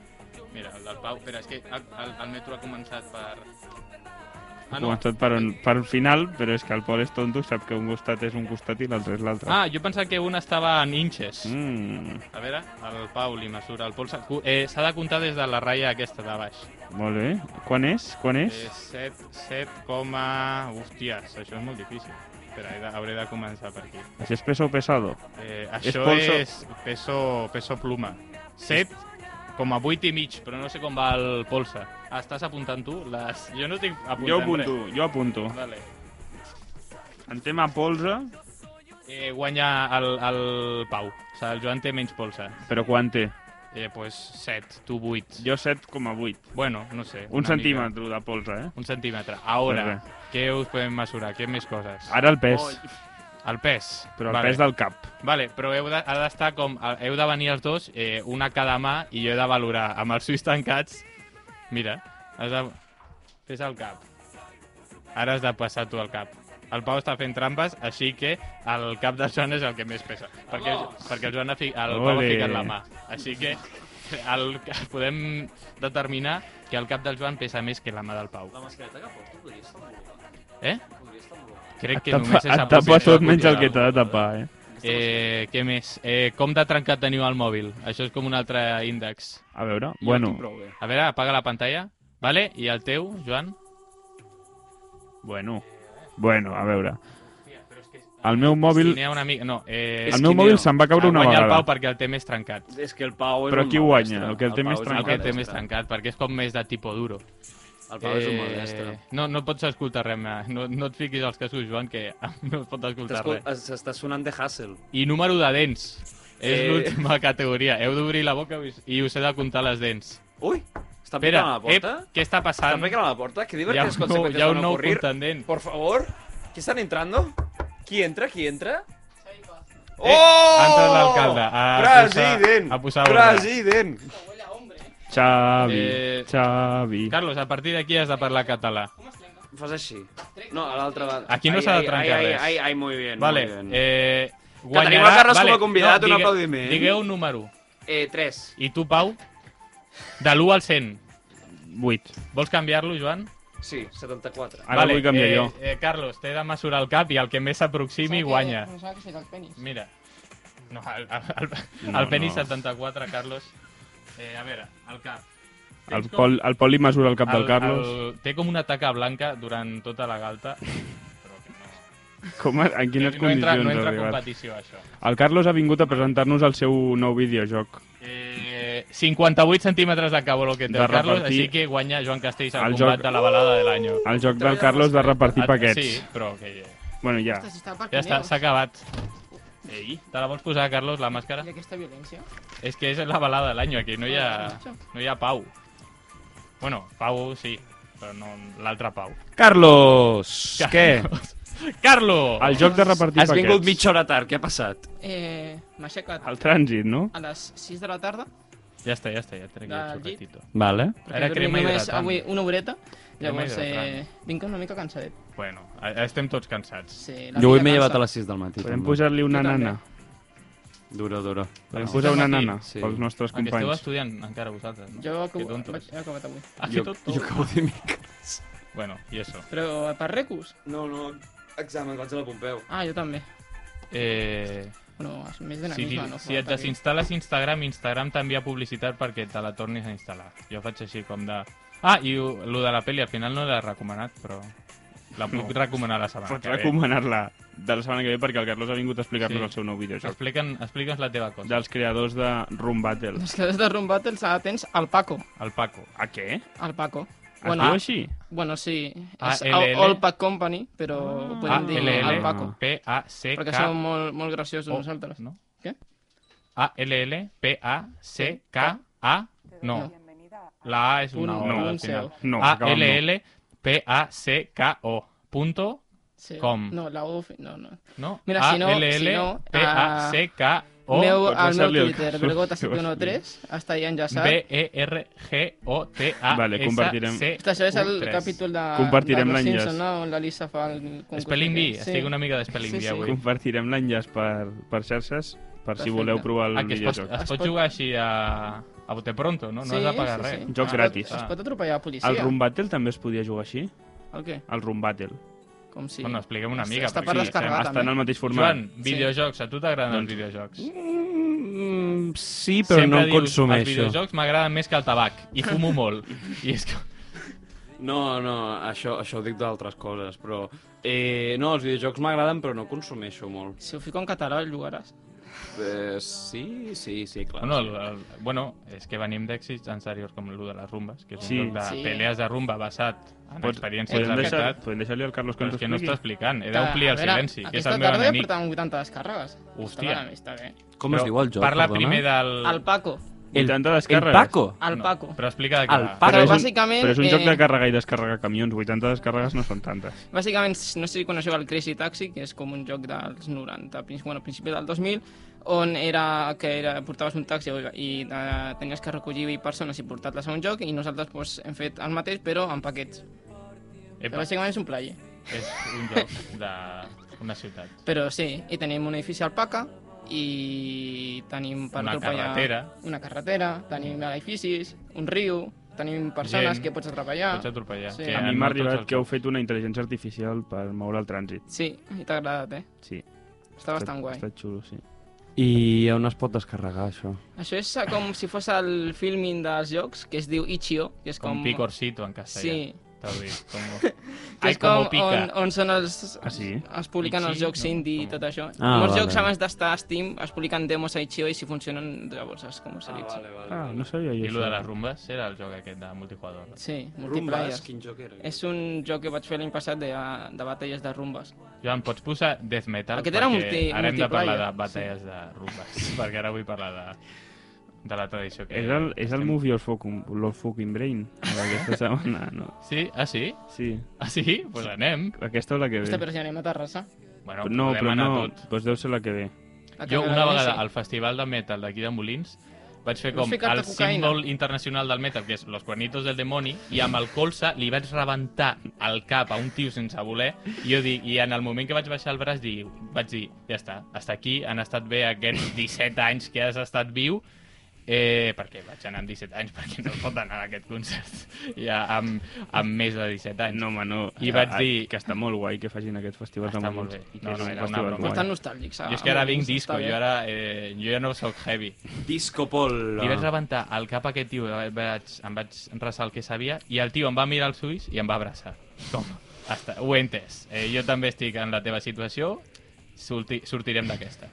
[SPEAKER 3] Mira, el del Pau... Espera, és que el, el, el metro ha començat per... Ah,
[SPEAKER 4] Ha començat per, un, per un final, però és que el Pol és tonto, sap que un costat és un costat i l'altre és l'altre.
[SPEAKER 3] Ah, jo pensava que un estava en inches. Mm.
[SPEAKER 4] Mm,
[SPEAKER 3] A veure, el Pau li mesura el polsa. Cu- Eh, S'ha de comptar des de la ratlla aquesta de baix.
[SPEAKER 4] molt bé. Quan és? Quan
[SPEAKER 3] Eh,
[SPEAKER 4] és?
[SPEAKER 3] 7, 7, hòsties, això és molt difícil. Espera, he de, hauré de començar per aquí.
[SPEAKER 4] Això és peso pesado.
[SPEAKER 3] Eh, això
[SPEAKER 4] polso.
[SPEAKER 3] és, peso, peso pluma. 7, com a 8 i mig, però no sé com va el polsa. Ah, estàs apuntant tu? Les... Jo no estic apuntant
[SPEAKER 4] Jo apunto, jo apunto.
[SPEAKER 3] Res. Vale.
[SPEAKER 4] En tema polsa,
[SPEAKER 3] Eh, guanya el, el Pau. O sigui, el Joan té menys polsa.
[SPEAKER 4] però quan té?
[SPEAKER 3] eh, pues 7, tu 8.
[SPEAKER 4] Jo 7,8.
[SPEAKER 3] Bueno, no sé. una
[SPEAKER 4] Un
[SPEAKER 3] mica.
[SPEAKER 4] centímetre de polze, eh?
[SPEAKER 3] Un centímetre. Ahora,
[SPEAKER 4] Pues
[SPEAKER 3] què us podem mesurar? Què més coses?
[SPEAKER 4] Ara el pes,
[SPEAKER 3] El pes.
[SPEAKER 4] però el
[SPEAKER 3] vale.
[SPEAKER 4] pes del cap.
[SPEAKER 3] Vale, però heu de, ha d'estar com... Heu de venir els dos, eh, una cada mà, i jo he de valorar amb els ulls tancats. Mira, has de... Fes el cap. Ara has de passar tu el cap. El Pau està fent trampes, així que el cap de Joan és el que més pesa. Perquè, perquè el, Joan ha fi, el Pau ha
[SPEAKER 4] Ole.
[SPEAKER 3] ficat la mà. Així que el, podem determinar que el cap del Joan pesa més que la mà del Pau.
[SPEAKER 5] La mascareta que porto podria estar molt bona.
[SPEAKER 3] Eh?
[SPEAKER 5] Podria estar molt bona.
[SPEAKER 3] Crec que
[SPEAKER 4] Et tapa,
[SPEAKER 3] només és
[SPEAKER 4] et tapa tot menys el que
[SPEAKER 3] tal.
[SPEAKER 4] t'ha de tapar, eh?
[SPEAKER 5] Aquesta
[SPEAKER 3] Eh, què més? Eh, com de trencat teniu el mòbil? Això és com un altre índex.
[SPEAKER 4] A veure,
[SPEAKER 5] Jo
[SPEAKER 4] bueno,
[SPEAKER 5] tinc prou bé.
[SPEAKER 3] A veure, apaga la pantalla. Vale? I el teu, Joan?
[SPEAKER 4] bueno, bueno, a veure. El meu mòbil,
[SPEAKER 3] Si n'hi ha una mica... No, eh,
[SPEAKER 5] És
[SPEAKER 4] el meu
[SPEAKER 5] quin
[SPEAKER 4] mòbil
[SPEAKER 5] era?
[SPEAKER 4] se'n va caure una
[SPEAKER 3] guanya el Pau
[SPEAKER 4] vegada.
[SPEAKER 3] perquè el té més trencat.
[SPEAKER 5] És que el Pau és
[SPEAKER 4] Però
[SPEAKER 5] un
[SPEAKER 4] qui
[SPEAKER 5] maldestre.
[SPEAKER 4] guanya? El que el té
[SPEAKER 5] Pau
[SPEAKER 4] més
[SPEAKER 5] és un
[SPEAKER 3] El
[SPEAKER 4] trencat.
[SPEAKER 3] que el té
[SPEAKER 5] maldestre.
[SPEAKER 3] més trencat, perquè és com més de tipo duro. Eh,
[SPEAKER 5] El Pau és un maldestre.
[SPEAKER 3] no, no pots escoltar res, ma. no, no et fiquis als cascos, Joan, que *laughs* no es pot escoltar
[SPEAKER 5] T'escol- es-
[SPEAKER 3] res.
[SPEAKER 5] S'està sonant de Hassel.
[SPEAKER 3] I número de dents. És
[SPEAKER 5] Eh.
[SPEAKER 3] l'última categoria. Heu d'obrir la boca i us he de comptar les dents.
[SPEAKER 5] Ui! Està
[SPEAKER 3] Espera,
[SPEAKER 5] picant a la
[SPEAKER 3] ep,
[SPEAKER 5] porta?
[SPEAKER 3] què està
[SPEAKER 5] Està
[SPEAKER 3] passant?
[SPEAKER 5] picant a la porta? Que
[SPEAKER 3] Hi ha
[SPEAKER 5] divertides
[SPEAKER 3] un nou, hi
[SPEAKER 5] conseqüències
[SPEAKER 3] ha
[SPEAKER 5] van
[SPEAKER 3] un nou
[SPEAKER 5] ocurrir.
[SPEAKER 3] contendent.
[SPEAKER 5] Por favor, ¿qué están entrando? ¿Quién entra? ¿Quién entra? ¡Oh!
[SPEAKER 3] Eh, ha entrado el alcalde, ha
[SPEAKER 5] ¡President!
[SPEAKER 3] posado- ha posado
[SPEAKER 5] ¡President!
[SPEAKER 4] Xavi,
[SPEAKER 3] Eh,
[SPEAKER 4] Xavi.
[SPEAKER 3] Carlos, a partir d'aquí has de parlar català.
[SPEAKER 5] Fas així. No, a l'altra banda.
[SPEAKER 3] Aquí no
[SPEAKER 5] Ai,
[SPEAKER 3] s'ha de
[SPEAKER 5] ai,
[SPEAKER 3] trencar
[SPEAKER 5] ai,
[SPEAKER 3] res.
[SPEAKER 5] Ai, ai, muy bien,
[SPEAKER 3] vale,
[SPEAKER 5] muy bien.
[SPEAKER 3] eh,
[SPEAKER 5] tenim el Carles com a convidat, un aplaudiment.
[SPEAKER 3] Digueu un número.
[SPEAKER 5] Eh, tres.
[SPEAKER 3] I tu, Pau, de l'1 al 100.
[SPEAKER 4] 8.
[SPEAKER 3] Vols canviar-lo, Joan?
[SPEAKER 5] Sí, 74.
[SPEAKER 4] Ara vull canviar
[SPEAKER 3] eh,
[SPEAKER 4] jo.
[SPEAKER 3] Eh, Carlos, t'he de mesurar el cap i el que més s'aproximi guanya.
[SPEAKER 6] Pensava que seria el penis.
[SPEAKER 3] Mira. No, el, el, el,
[SPEAKER 4] No,
[SPEAKER 3] el penis
[SPEAKER 4] no.
[SPEAKER 3] 74, Carlos. Eh, a veure, el cap.
[SPEAKER 4] El
[SPEAKER 3] Tens com-
[SPEAKER 4] Pol, el Pol li mesura el cap del Carlos.
[SPEAKER 3] El, té com una taca blanca durant tota la
[SPEAKER 4] *laughs*
[SPEAKER 3] galta. Però que no...
[SPEAKER 4] Com, a- en
[SPEAKER 3] no
[SPEAKER 4] quines
[SPEAKER 3] entra,
[SPEAKER 4] condicions
[SPEAKER 3] no
[SPEAKER 4] ha
[SPEAKER 3] entra a
[SPEAKER 4] arribat?
[SPEAKER 3] competició, això.
[SPEAKER 4] El Carlos ha vingut a presentar-nos el seu nou videojoc.
[SPEAKER 3] Eh, 58 centímetres de cabolo que té
[SPEAKER 4] De
[SPEAKER 3] el Carlos,
[SPEAKER 4] repartir-
[SPEAKER 3] així que guanya Joan Castells el,
[SPEAKER 4] El
[SPEAKER 3] combat
[SPEAKER 4] joc-
[SPEAKER 3] de la balada de l'any. Ah,
[SPEAKER 4] El joc del Carlos de repartir paquets.
[SPEAKER 3] Sí, però que...
[SPEAKER 4] Bueno, ja.
[SPEAKER 6] Ostres, està per
[SPEAKER 3] Ja està, s'ha acabat.
[SPEAKER 5] Ei.
[SPEAKER 3] Te la vols posar, Carlos, la màscara?
[SPEAKER 6] I aquesta violència. Ah,
[SPEAKER 3] És que és la balada de l'any, aquí no hi ha... No hi ha Pau. Bueno, Pau sí, però no l'altre Pau.
[SPEAKER 4] Carlos! Què?
[SPEAKER 3] Carlos!
[SPEAKER 4] El joc de repartir
[SPEAKER 5] Has
[SPEAKER 4] paquets.
[SPEAKER 5] vingut mitja hora tard, què ha passat?
[SPEAKER 6] Eh, M'aixeco a,
[SPEAKER 4] El trànsit, no?
[SPEAKER 6] a les 6 de la tarda.
[SPEAKER 3] Ja està, ja està, ja trec el
[SPEAKER 6] Del llit.
[SPEAKER 3] xocatito.
[SPEAKER 2] Vale.
[SPEAKER 6] perquè
[SPEAKER 3] Era
[SPEAKER 6] dormia
[SPEAKER 3] crema
[SPEAKER 6] només
[SPEAKER 3] hidratant.
[SPEAKER 6] Avui una horeta.
[SPEAKER 3] Crema
[SPEAKER 6] Llavors, eh, vinc una mica cansadet.
[SPEAKER 3] Bueno, a- estem tots cansats.
[SPEAKER 6] Sí,
[SPEAKER 5] Jo avui
[SPEAKER 6] vida
[SPEAKER 5] m'he
[SPEAKER 6] cansa.
[SPEAKER 5] llevat a les 6 del matí.
[SPEAKER 4] Podem
[SPEAKER 5] també.
[SPEAKER 4] pujar-li una
[SPEAKER 6] Jo també.
[SPEAKER 4] nana.
[SPEAKER 5] Duro, duro.
[SPEAKER 4] Podem
[SPEAKER 5] No.
[SPEAKER 4] posar una
[SPEAKER 3] Matí.
[SPEAKER 4] nana
[SPEAKER 5] Sí.
[SPEAKER 4] pels nostres
[SPEAKER 3] Ah, que esteu
[SPEAKER 4] companys.
[SPEAKER 3] estudiant encara vosaltres, no?
[SPEAKER 6] Jo
[SPEAKER 3] Que
[SPEAKER 6] acabo,
[SPEAKER 3] tontos.
[SPEAKER 6] vaig, he acabat avui.
[SPEAKER 3] Ah, que
[SPEAKER 5] Jo,
[SPEAKER 3] tot,
[SPEAKER 5] jo acabo de mica.
[SPEAKER 3] Bueno, i això.
[SPEAKER 6] Però per recus?
[SPEAKER 5] No, no, examen, vaig a la Pompeu.
[SPEAKER 6] Ah, jo també.
[SPEAKER 3] Eh,
[SPEAKER 6] Bueno, és més
[SPEAKER 3] si,
[SPEAKER 6] dinamisme, no?
[SPEAKER 3] si et
[SPEAKER 6] Falta que-
[SPEAKER 3] desinstal·les Instagram, Instagram t'envia publicitat perquè te la tornis a instal·lar. Jo faig així com de... Ah, i ho- lo de la pel·li al final no l'he recomanat, però la puc recomanar la setmana
[SPEAKER 4] Pots
[SPEAKER 3] que ve.
[SPEAKER 4] recomanar-la de la setmana que ve perquè el Carlos ha vingut a explicar-nos
[SPEAKER 3] Sí.
[SPEAKER 4] el seu nou videojoc.
[SPEAKER 3] Explica'n- Explica'ns la teva cosa.
[SPEAKER 4] Dels creadors de Room Battle.
[SPEAKER 6] Les classes de Room Battles ara tens el Paco.
[SPEAKER 3] El Paco.
[SPEAKER 4] A què?
[SPEAKER 6] El Paco.
[SPEAKER 4] Es diu així?
[SPEAKER 6] bueno, sí.
[SPEAKER 3] Ah,
[SPEAKER 6] és
[SPEAKER 3] LL?
[SPEAKER 6] All Pack Company, però ah, ho podem dir
[SPEAKER 3] A-L-L.
[SPEAKER 6] el Paco. Perquè
[SPEAKER 3] P-A-C-K...
[SPEAKER 6] som molt, molt graciosos
[SPEAKER 3] O-
[SPEAKER 6] nosaltres.
[SPEAKER 3] Ah. Oh, No?
[SPEAKER 6] Què?
[SPEAKER 3] A-L-L-P-A-C-K-A... No. La A és una O.
[SPEAKER 6] Un-
[SPEAKER 3] al
[SPEAKER 6] un
[SPEAKER 3] final.
[SPEAKER 4] CO. No, acaba amb no.
[SPEAKER 3] A-L-L-P-A-C-K-O. Punto
[SPEAKER 6] Sí.
[SPEAKER 3] Com?
[SPEAKER 6] No, la U... fi- No, no.
[SPEAKER 3] No?
[SPEAKER 6] Mira, si no- si no, a-
[SPEAKER 3] A-L-L-P-A-C-k-O
[SPEAKER 6] Oh, meu,
[SPEAKER 4] pots
[SPEAKER 6] el meu
[SPEAKER 4] deixar-li doncs el
[SPEAKER 6] Twitter,
[SPEAKER 4] *laughs* Carlos, si vols dir.
[SPEAKER 6] Bergota713, oh està allà enllaçat.
[SPEAKER 3] E B-E-R-G-O-T-A-S-C-U-3.
[SPEAKER 4] Vale, compartirem.
[SPEAKER 6] Hosta, això és el capítol de...
[SPEAKER 4] Compartirem
[SPEAKER 6] de Los
[SPEAKER 4] l'enllaç.
[SPEAKER 6] Simpson, No? On la Lisa fa el concurs.
[SPEAKER 3] Spelling Bee,
[SPEAKER 6] aquest.
[SPEAKER 3] estic una mica de Spelling
[SPEAKER 6] Sí,
[SPEAKER 3] Bee
[SPEAKER 6] sí.
[SPEAKER 3] avui.
[SPEAKER 4] Compartirem l'enllaç per, per xarxes per si
[SPEAKER 6] Perfecte.
[SPEAKER 4] voleu provar el
[SPEAKER 3] Ah, que es pot,
[SPEAKER 4] videojoc.
[SPEAKER 3] es
[SPEAKER 6] Es
[SPEAKER 3] pot
[SPEAKER 6] pot-
[SPEAKER 3] jugar així a, a bote pronto, no? No has de pagar res.
[SPEAKER 4] Joc
[SPEAKER 6] Es pot-
[SPEAKER 3] ah.
[SPEAKER 4] gratis.
[SPEAKER 6] Ah, Es pot atropellar la policia.
[SPEAKER 4] El Room Battle també es podia jugar així?
[SPEAKER 6] El què?
[SPEAKER 4] El Room Battle.
[SPEAKER 6] Com si...
[SPEAKER 3] Bueno, expliquem una
[SPEAKER 6] Està-
[SPEAKER 3] mica.
[SPEAKER 6] Està
[SPEAKER 3] perquè
[SPEAKER 6] per
[SPEAKER 3] sí,
[SPEAKER 6] descarregar,
[SPEAKER 4] Estan en
[SPEAKER 6] també.
[SPEAKER 4] el mateix
[SPEAKER 3] estem-
[SPEAKER 4] format.
[SPEAKER 3] Joan, videojocs, a tu t'agraden els videojocs?
[SPEAKER 5] Mm, sí, però no en
[SPEAKER 3] dius,
[SPEAKER 4] eh".
[SPEAKER 3] Els
[SPEAKER 5] consumeixo.
[SPEAKER 3] videojocs m'agraden més que el tabac, i fumo
[SPEAKER 4] *laughs*
[SPEAKER 3] molt. I és que...
[SPEAKER 5] No, no, això, això ho dic d'altres coses, però... Eh, no, els videojocs m'agraden, però no consumeixo molt.
[SPEAKER 6] Si ho fico en català, el jugaràs.
[SPEAKER 5] Eh, sí, sí, sí, clar.
[SPEAKER 3] Bueno, el, el, bueno, és que venim d'èxits anteriors com el de les rumbes, que és
[SPEAKER 4] Sí.
[SPEAKER 3] un joc de
[SPEAKER 6] Sí.
[SPEAKER 3] pelees de rumba basat en
[SPEAKER 4] Pots-
[SPEAKER 3] experiències de
[SPEAKER 4] podem deixar-
[SPEAKER 3] veritat.
[SPEAKER 4] Podem deixar-li al Carlos que
[SPEAKER 3] Però és
[SPEAKER 4] ens ho
[SPEAKER 3] que no està
[SPEAKER 4] expliqui?
[SPEAKER 3] explicant, he
[SPEAKER 6] Que,
[SPEAKER 3] d'omplir
[SPEAKER 6] Ah, a
[SPEAKER 3] el
[SPEAKER 6] veure,
[SPEAKER 3] silenci, que és
[SPEAKER 6] aquesta
[SPEAKER 3] el meu
[SPEAKER 6] tarda ja
[SPEAKER 3] enemic.
[SPEAKER 6] portàvem 80 descàrregues.
[SPEAKER 3] Hòstia.
[SPEAKER 6] Està bé, està bé.
[SPEAKER 5] Com es
[SPEAKER 3] Però
[SPEAKER 5] diu el joc?
[SPEAKER 3] Parla
[SPEAKER 5] perdona?
[SPEAKER 3] primer del...
[SPEAKER 6] El Paco.
[SPEAKER 2] El,
[SPEAKER 4] 80
[SPEAKER 2] el
[SPEAKER 4] descàrregues.
[SPEAKER 2] Paco.
[SPEAKER 6] Al
[SPEAKER 3] No,
[SPEAKER 6] Paco.
[SPEAKER 3] Però explica de què
[SPEAKER 2] El
[SPEAKER 3] va.
[SPEAKER 2] Paco.
[SPEAKER 6] Però,
[SPEAKER 4] Però és un-
[SPEAKER 6] bàsicament...
[SPEAKER 4] Però és un joc
[SPEAKER 6] eh,
[SPEAKER 4] de càrrega i descàrrega camions. 80 descàrregues no són tantes.
[SPEAKER 6] Bàsicament, no sé si coneixeu el Crazy Taxi, que és com un joc dels 90, princi- bueno, principis del 2000, on era que era, portaves un taxi i eh, tenies que recollir 20 persones i portar-les a un joc, i nosaltres doncs, hem fet el mateix, però amb paquets. Que
[SPEAKER 3] Epa,
[SPEAKER 6] bàsicament és un player.
[SPEAKER 3] és un joc de una ciutat.
[SPEAKER 6] Però sí, i tenim un edifici al Paca, i tenim per
[SPEAKER 3] Una
[SPEAKER 6] atropellar
[SPEAKER 3] carretera.
[SPEAKER 6] una carretera, tenim edificis, un riu, tenim persones
[SPEAKER 3] Gent.
[SPEAKER 6] que pots atropellar.
[SPEAKER 3] Pots atropellar.
[SPEAKER 6] Sí.
[SPEAKER 3] que
[SPEAKER 4] A
[SPEAKER 6] Eh,
[SPEAKER 4] mi
[SPEAKER 3] no
[SPEAKER 4] m'ha
[SPEAKER 3] tots
[SPEAKER 4] arribat
[SPEAKER 3] els
[SPEAKER 4] que heu fet una intel·ligència artificial per moure el trànsit.
[SPEAKER 6] Sí, i t'ha agradat, eh?
[SPEAKER 4] Sí.
[SPEAKER 6] Està bastant guai.
[SPEAKER 4] Ha estat xulo, sí.
[SPEAKER 5] I on es pot descarregar, això?
[SPEAKER 6] Això és eh, com si fos el filming dels jocs, que es diu Ichio, que és com...
[SPEAKER 3] Com picorcito en castellà.
[SPEAKER 6] Sí,
[SPEAKER 3] T'ho dic, com...
[SPEAKER 6] *laughs* que
[SPEAKER 3] Ai,
[SPEAKER 6] és com
[SPEAKER 3] como pica.
[SPEAKER 6] on, on són els...
[SPEAKER 4] Ah, sí?
[SPEAKER 6] Es publiquen els
[SPEAKER 3] Ichi,
[SPEAKER 6] jocs
[SPEAKER 3] no,
[SPEAKER 6] indie i
[SPEAKER 3] com-
[SPEAKER 6] tot això.
[SPEAKER 5] Ah,
[SPEAKER 6] Molts
[SPEAKER 5] vale.
[SPEAKER 6] jocs abans d'estar a Steam es publiquen demos a Ichio i si funcionen llavors es comercialitzen.
[SPEAKER 4] Ah, no sabia jo
[SPEAKER 3] I lo de
[SPEAKER 4] això.
[SPEAKER 3] les rumbes era el joc aquest de multijugador.
[SPEAKER 6] Sí, multiplayer.
[SPEAKER 5] Rumbas, quin joc era?
[SPEAKER 6] És un joc que vaig fer l'any passat de, de batalles de rumbes.
[SPEAKER 3] Joan, pots posar Death Metal?
[SPEAKER 6] Aquest era
[SPEAKER 3] Perquè
[SPEAKER 6] multi-
[SPEAKER 3] Ara hem de parlar de
[SPEAKER 6] multiplayer,
[SPEAKER 3] batalles de rumbes, *laughs* perquè ara vull parlar de, de la tradició que...
[SPEAKER 4] És el, és el
[SPEAKER 3] estem-
[SPEAKER 4] Move Your Fucking, your fucking Brain
[SPEAKER 6] *laughs*
[SPEAKER 4] d'aquesta setmana, no?
[SPEAKER 3] Sí? Ah, sí?
[SPEAKER 4] Sí.
[SPEAKER 3] Ah, sí? Doncs pues anem.
[SPEAKER 4] Aquesta o la que ve?
[SPEAKER 6] Hosta, però si anem a Terrassa.
[SPEAKER 3] Bueno,
[SPEAKER 4] no,
[SPEAKER 3] podem
[SPEAKER 4] però
[SPEAKER 3] anar
[SPEAKER 4] no,
[SPEAKER 3] tot.
[SPEAKER 4] doncs deu ser la que ve.
[SPEAKER 6] a
[SPEAKER 3] Jo una
[SPEAKER 6] Camarasa,
[SPEAKER 3] vegada
[SPEAKER 6] sí.
[SPEAKER 3] al Festival de Metal d'aquí de Molins vaig fer
[SPEAKER 6] Vas
[SPEAKER 3] com
[SPEAKER 6] ficar-te
[SPEAKER 3] el
[SPEAKER 6] cocaïna.
[SPEAKER 3] símbol internacional del metal, que és Los Cuernitos del Demoni, i amb el colze li vaig rebentar el cap a un tio sense voler, i jo dic, i en el moment que vaig baixar el braç dic, vaig dir, ja està, hasta aquí han estat bé aquests 17 anys que has estat viu, Eh, perquè vaig anar amb 17 anys, *laughs* perquè no es pot anar a aquest concert ja amb, amb més de 17 anys.
[SPEAKER 4] No, home, no.
[SPEAKER 3] I vaig
[SPEAKER 4] Ah,
[SPEAKER 3] dir-
[SPEAKER 4] Que està molt guai que facin aquests festivals
[SPEAKER 3] Està
[SPEAKER 4] de
[SPEAKER 3] molt
[SPEAKER 4] músics,
[SPEAKER 3] bé.
[SPEAKER 4] i que
[SPEAKER 3] No,
[SPEAKER 4] és
[SPEAKER 3] no,
[SPEAKER 4] un
[SPEAKER 3] era una
[SPEAKER 4] festival
[SPEAKER 3] broma.
[SPEAKER 4] guai.
[SPEAKER 6] Bastant nostàlgics. a-
[SPEAKER 3] eh? Jo és que ara
[SPEAKER 6] a
[SPEAKER 3] vinc
[SPEAKER 6] Molins,
[SPEAKER 3] disco,
[SPEAKER 6] està bé.
[SPEAKER 3] jo ara, eh, jo ja no sóc heavy.
[SPEAKER 5] Discopol.
[SPEAKER 3] Li vaig rebentar el cap a aquest tio, eh, vaig, em vaig resar el que sabia, i el tio em va mirar els ulls i em va abraçar. Com? Hasta, ho he entès. Eh, jo també estic en la teva situació, surti, sortirem d'aquesta.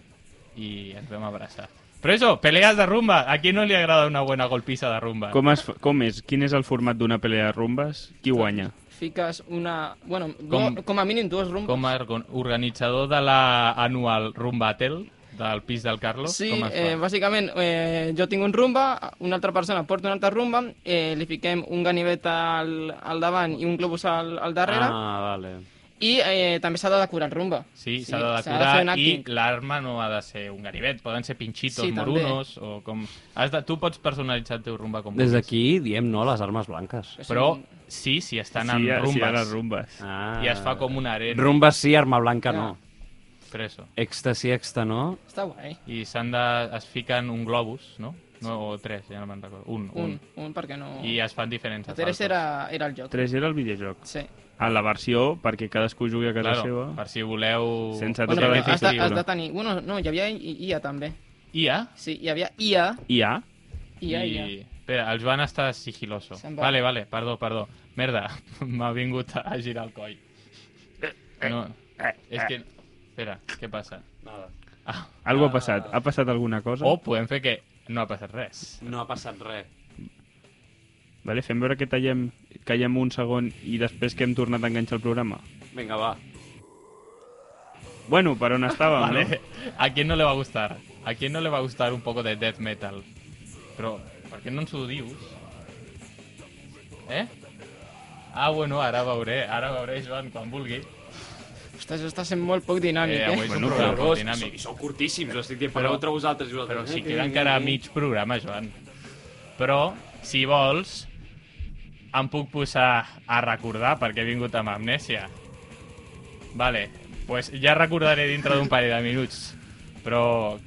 [SPEAKER 3] I ens vam abraçar. Però eso, peleas de rumba. A qui no li agrada una bona golpissa de rumba?
[SPEAKER 4] Com, es, fa- com és? Quin és el format d'una pelea de rumbes? Qui guanya?
[SPEAKER 6] Fiques una... Bueno,
[SPEAKER 3] Com-
[SPEAKER 6] com, com a mínim dues rumbes.
[SPEAKER 3] Com a organ- organitzador de la anual Room Battle del pis del Carlos?
[SPEAKER 6] Sí,
[SPEAKER 3] com es fa?
[SPEAKER 6] eh, bàsicament, eh, jo tinc un rumba, una altra persona porta una altra rumba, eh, li fiquem un ganivet al, al davant i un globus al, al darrere,
[SPEAKER 5] Ah, vale.
[SPEAKER 6] i eh, també s'ha de decorar el rumba.
[SPEAKER 3] Sí, s'ha de
[SPEAKER 6] fer
[SPEAKER 3] decorar
[SPEAKER 6] un
[SPEAKER 3] i
[SPEAKER 6] acting.
[SPEAKER 3] l'arma no ha de ser un ganivet, poden ser pinxitos,
[SPEAKER 6] Sí, també.
[SPEAKER 3] morunos o com... Has de... Tu pots personalitzar el teu rumba com
[SPEAKER 5] Des
[SPEAKER 3] vulguis.
[SPEAKER 5] d'aquí diem no a les armes blanques.
[SPEAKER 6] És
[SPEAKER 3] Però
[SPEAKER 6] un-
[SPEAKER 3] sí, si estan
[SPEAKER 4] sí,
[SPEAKER 3] en
[SPEAKER 4] a- Sí, a les
[SPEAKER 3] rumbes.
[SPEAKER 4] rumbes.
[SPEAKER 5] Ah.
[SPEAKER 3] I es fa com una arena.
[SPEAKER 5] Rumbes sí, arma blanca no.
[SPEAKER 3] Però això.
[SPEAKER 5] Èxtasi, èxta no.
[SPEAKER 6] Està guai.
[SPEAKER 3] I s'han de... Es ficken un globus, no? no o tres, ja no me'n recordo. Un,
[SPEAKER 6] Un,
[SPEAKER 3] un.
[SPEAKER 6] un perquè no...
[SPEAKER 3] I es fan diferents
[SPEAKER 6] El 3 era, era el joc.
[SPEAKER 4] 3 era el videojoc.
[SPEAKER 6] Sí.
[SPEAKER 4] A la versió, perquè cadascú jugui a casa
[SPEAKER 3] Claro,
[SPEAKER 4] seva.
[SPEAKER 3] per si voleu...
[SPEAKER 4] Sense tocar
[SPEAKER 6] Bueno, però
[SPEAKER 4] la
[SPEAKER 6] has de,
[SPEAKER 4] difícil,
[SPEAKER 6] has de
[SPEAKER 4] no?
[SPEAKER 6] tenir... Bueno, no, hi havia I- IA també.
[SPEAKER 3] IA.
[SPEAKER 6] Sí, hi havia IA,
[SPEAKER 4] I ha?
[SPEAKER 6] IA,
[SPEAKER 3] I...
[SPEAKER 6] IA.
[SPEAKER 3] Espera, el Joan està sigiloso.
[SPEAKER 6] Se'n va.
[SPEAKER 3] Vale, vale, perdó, perdó. Merda, *laughs* m'ha vingut a girar el coll. No, és que... Espera, què passa? Ah.
[SPEAKER 4] Algo ha passat. Ha passat alguna cosa?
[SPEAKER 3] O podem fer que no ha passat res.
[SPEAKER 5] No ha passat res.
[SPEAKER 4] Vale, fem veure que tallem, callem un segon i després que hem tornat a enganxar el programa.
[SPEAKER 5] Vinga, va.
[SPEAKER 4] Bueno, per on estàvem,
[SPEAKER 3] Vale. ¿A quién no le va a gustar? ¿A quién no le va a gustar un poco de death metal? Pero, ¿por qué no en su dius? ¿Eh? Ah, bueno, ara veuré, ara veuré, Joan, quan vulgui.
[SPEAKER 6] Ostres, això està sent molt poc dinàmic,
[SPEAKER 3] Eh,
[SPEAKER 6] eh?
[SPEAKER 3] avui és
[SPEAKER 4] Bueno,
[SPEAKER 3] un programa molt dinàmic.
[SPEAKER 5] I sou curtíssims, ho estic dient,
[SPEAKER 3] Però-
[SPEAKER 5] però entre vosaltres i
[SPEAKER 3] Però
[SPEAKER 5] vosaltres.
[SPEAKER 3] si
[SPEAKER 5] Eh,
[SPEAKER 3] queda
[SPEAKER 5] eh,
[SPEAKER 3] encara
[SPEAKER 5] eh.
[SPEAKER 3] mig programa, Joan. Però, si vols, em puc posar a recordar perquè he vingut amb amnèsia. Vale, pues ja recordaré dintre d'un parell de minuts. Però,